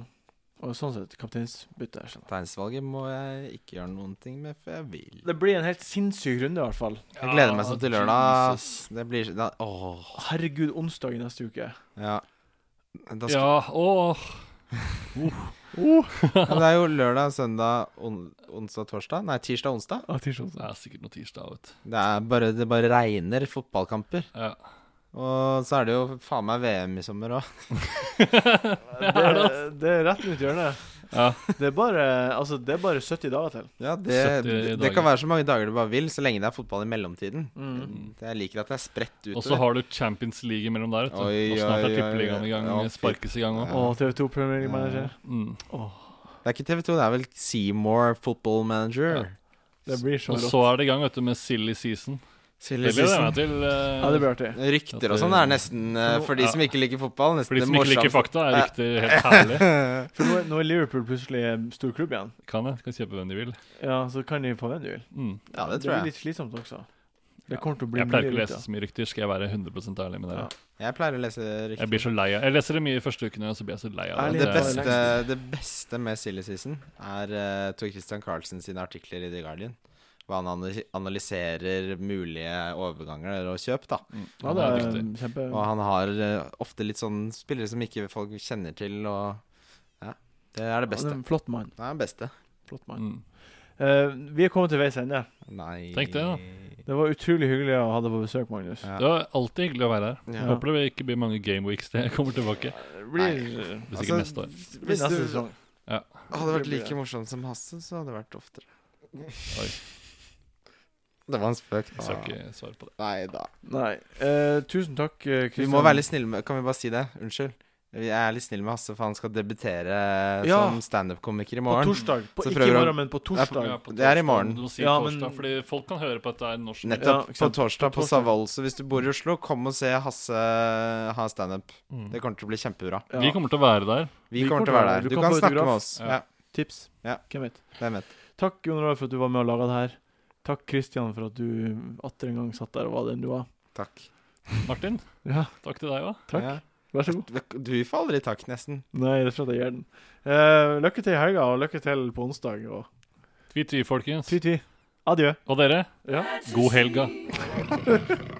Speaker 1: Og sånn sett, kapteinsbytte. sånn. jeg skjønner.
Speaker 3: Tegnsvalget må jeg ikke gjøre noen ting med, for jeg vil.
Speaker 1: Det blir en helt sinnssyk runde, i hvert fall.
Speaker 3: Jeg gleder meg sånn til lørdag. ass.
Speaker 4: Jesus.
Speaker 3: Det blir da, Åh.
Speaker 1: Herregud, onsdag i neste uke.
Speaker 3: Ja. Da skal,
Speaker 4: Ja, åh!
Speaker 3: Men det er jo lørdag, søndag, on, onsdag, torsdag. Nei, tirsdag, onsdag.
Speaker 1: Ja, tirsdag.
Speaker 4: Det er sikkert noe tirsdag, vet du.
Speaker 3: Det er bare, det bare regner fotballkamper.
Speaker 4: Ja.
Speaker 3: Og så er det jo faen meg VM i sommer òg.
Speaker 4: *laughs*
Speaker 1: Det, det er rett rundt hjørnet.
Speaker 4: Ja.
Speaker 1: Det er, bare, altså, det er bare 70 dager til.
Speaker 3: Ja, det,
Speaker 4: 70
Speaker 3: det kan
Speaker 4: dager.
Speaker 3: være så mange dager du bare vil, så lenge det er fotball i mellomtiden.
Speaker 1: Mm.
Speaker 3: Jeg liker at det er spredt
Speaker 4: Og så
Speaker 3: utover.
Speaker 4: har du Champions League imellom der, vet du.
Speaker 3: Oi,
Speaker 4: Og snart
Speaker 3: oi,
Speaker 4: er
Speaker 3: oi,
Speaker 4: tippeligaen i gang.
Speaker 3: ja, fy-
Speaker 4: sparkes i gang òg.
Speaker 1: Og TV2 Premier League Manager.
Speaker 4: Mm.
Speaker 3: Det er ikke TV2, det er vel Seymour Football Manager.
Speaker 4: Ja.
Speaker 1: Det blir så
Speaker 4: Og
Speaker 1: rått.
Speaker 4: så er det i gang, vet du, med Silly Season.
Speaker 3: Silly
Speaker 4: Det gleder jeg
Speaker 3: season.
Speaker 4: meg til. eh,
Speaker 1: Ja, det blir artig.
Speaker 3: sånn Rykter og sånn er nesten eh, for de
Speaker 4: Ja.
Speaker 3: som ikke liker fotball. Nesten
Speaker 4: For de
Speaker 3: det
Speaker 4: som ikke liker
Speaker 3: morsomste.
Speaker 4: fakta, er rykter helt herlig.
Speaker 3: *laughs*
Speaker 1: For nå, er- nå er Liverpool plutselig en stor klubb igjen.
Speaker 4: Kan jeg, kan kjøpe hvem de vil.
Speaker 1: Ja, Så kan de få hvem de vil.
Speaker 4: Mm.
Speaker 3: Ja, det tror
Speaker 1: blir
Speaker 3: jeg.
Speaker 1: litt slitsomt også. Det
Speaker 4: Ja.
Speaker 1: kommer til å bli
Speaker 4: Jeg pleier
Speaker 1: mye
Speaker 4: ikke å
Speaker 1: rundt,
Speaker 4: lese så mye rykter, skal jeg være 100 ærlig med dere.
Speaker 1: Ja.
Speaker 3: Jeg pleier å lese rykter.
Speaker 4: Jeg blir så lei av Jeg leser det mye i første ukene, og så blir jeg så lei av
Speaker 1: Ærlig, Ja,
Speaker 3: Det
Speaker 4: det. Det
Speaker 3: beste,
Speaker 1: relax.
Speaker 3: det beste med Silly Season er uh, Tor Christian Carlsen sine artikler i The Guardian. Hvor han ana- analyserer mulige overganger og kjøp, da.
Speaker 4: Mm.
Speaker 1: Ja, det er um, kjempe...
Speaker 3: Og han har eh, ofte litt sånn spillere som ikke folk kjenner til, og Ja. Det
Speaker 1: Han
Speaker 3: er det
Speaker 1: er
Speaker 3: beste.
Speaker 1: en flott mann.
Speaker 3: Det er det beste.
Speaker 1: Flott mann.
Speaker 4: Mm.
Speaker 1: Eh, vi er kommet til veis ende.
Speaker 3: Nei
Speaker 4: Tenk det, da.
Speaker 1: Det var utrolig hyggelig å ha deg på besøk, Magnus.
Speaker 3: Ja.
Speaker 4: Det var alltid hyggelig å være her.
Speaker 3: Ja.
Speaker 4: Jeg håper det ikke blir mange gameweeks til jeg kommer tilbake.
Speaker 1: Det blir, det
Speaker 4: Hvis ikke
Speaker 3: Altså,
Speaker 4: neste år.
Speaker 1: blir
Speaker 3: Hvis
Speaker 1: neste
Speaker 3: du
Speaker 1: sesong.
Speaker 3: hadde vært
Speaker 1: Det blir
Speaker 3: like
Speaker 1: det.
Speaker 3: morsom som Hasse, så hadde det vært oftere.
Speaker 4: Oi.
Speaker 3: Det var en spøk.
Speaker 4: Jeg skal ikke svare på det.
Speaker 3: Nei da.
Speaker 1: Nei. eh, tusen takk, eh, Christian.
Speaker 3: Vi må være litt snille med Kan vi bare si det? Unnskyld. Jeg er litt snill med Hasse, for han skal debutere
Speaker 1: Ja.
Speaker 3: som standup-komiker i
Speaker 1: På
Speaker 3: morgen.
Speaker 1: torsdag. På,
Speaker 3: Så
Speaker 1: ikke i
Speaker 3: prøver
Speaker 1: morgen,
Speaker 3: han-
Speaker 1: men på torsdag.
Speaker 4: Ja,
Speaker 1: Ja,
Speaker 4: på
Speaker 3: det er i
Speaker 4: torsdag.
Speaker 3: morgen.
Speaker 4: Du må si
Speaker 1: Ja,
Speaker 4: torsdag,
Speaker 1: men-
Speaker 4: fordi folk kan høre på at det er norsk.
Speaker 1: Ja, ikke
Speaker 3: Nettopp. på
Speaker 1: sant. På
Speaker 3: torsdag på
Speaker 1: torsdag.
Speaker 3: Savoll. Så hvis du bor i Oslo, kom og se Hasse ha standup.
Speaker 4: Mm.
Speaker 3: Det kommer til å bli kjempebra.
Speaker 4: Vi kommer til å være der.
Speaker 3: Vi kommer til å være der. Du, kan
Speaker 1: få
Speaker 3: snakke med
Speaker 1: autograf.
Speaker 3: oss.
Speaker 4: Ja.
Speaker 3: Ja.
Speaker 1: Tips.
Speaker 3: Ja.
Speaker 1: Hvem vet.
Speaker 3: Hvem vet.
Speaker 1: Takk, Jon Roar, for at du var med og laga det her. Takk, Christian, for at du atter en gang satt der og var den du var.
Speaker 3: Takk.
Speaker 4: Martin,
Speaker 1: Ja,
Speaker 4: takk til deg òg.
Speaker 1: Takk.
Speaker 3: Ja.
Speaker 1: vær så god.
Speaker 3: Du får aldri takk, nesten.
Speaker 1: Nei, det er for at jeg gir den. Eh, lykke til i helga, og lykke til på onsdag. Og
Speaker 4: Tvi-tvi, folkens.
Speaker 1: tvi-tvi. Adjø.
Speaker 4: Og dere,
Speaker 1: Ja.
Speaker 4: god helga.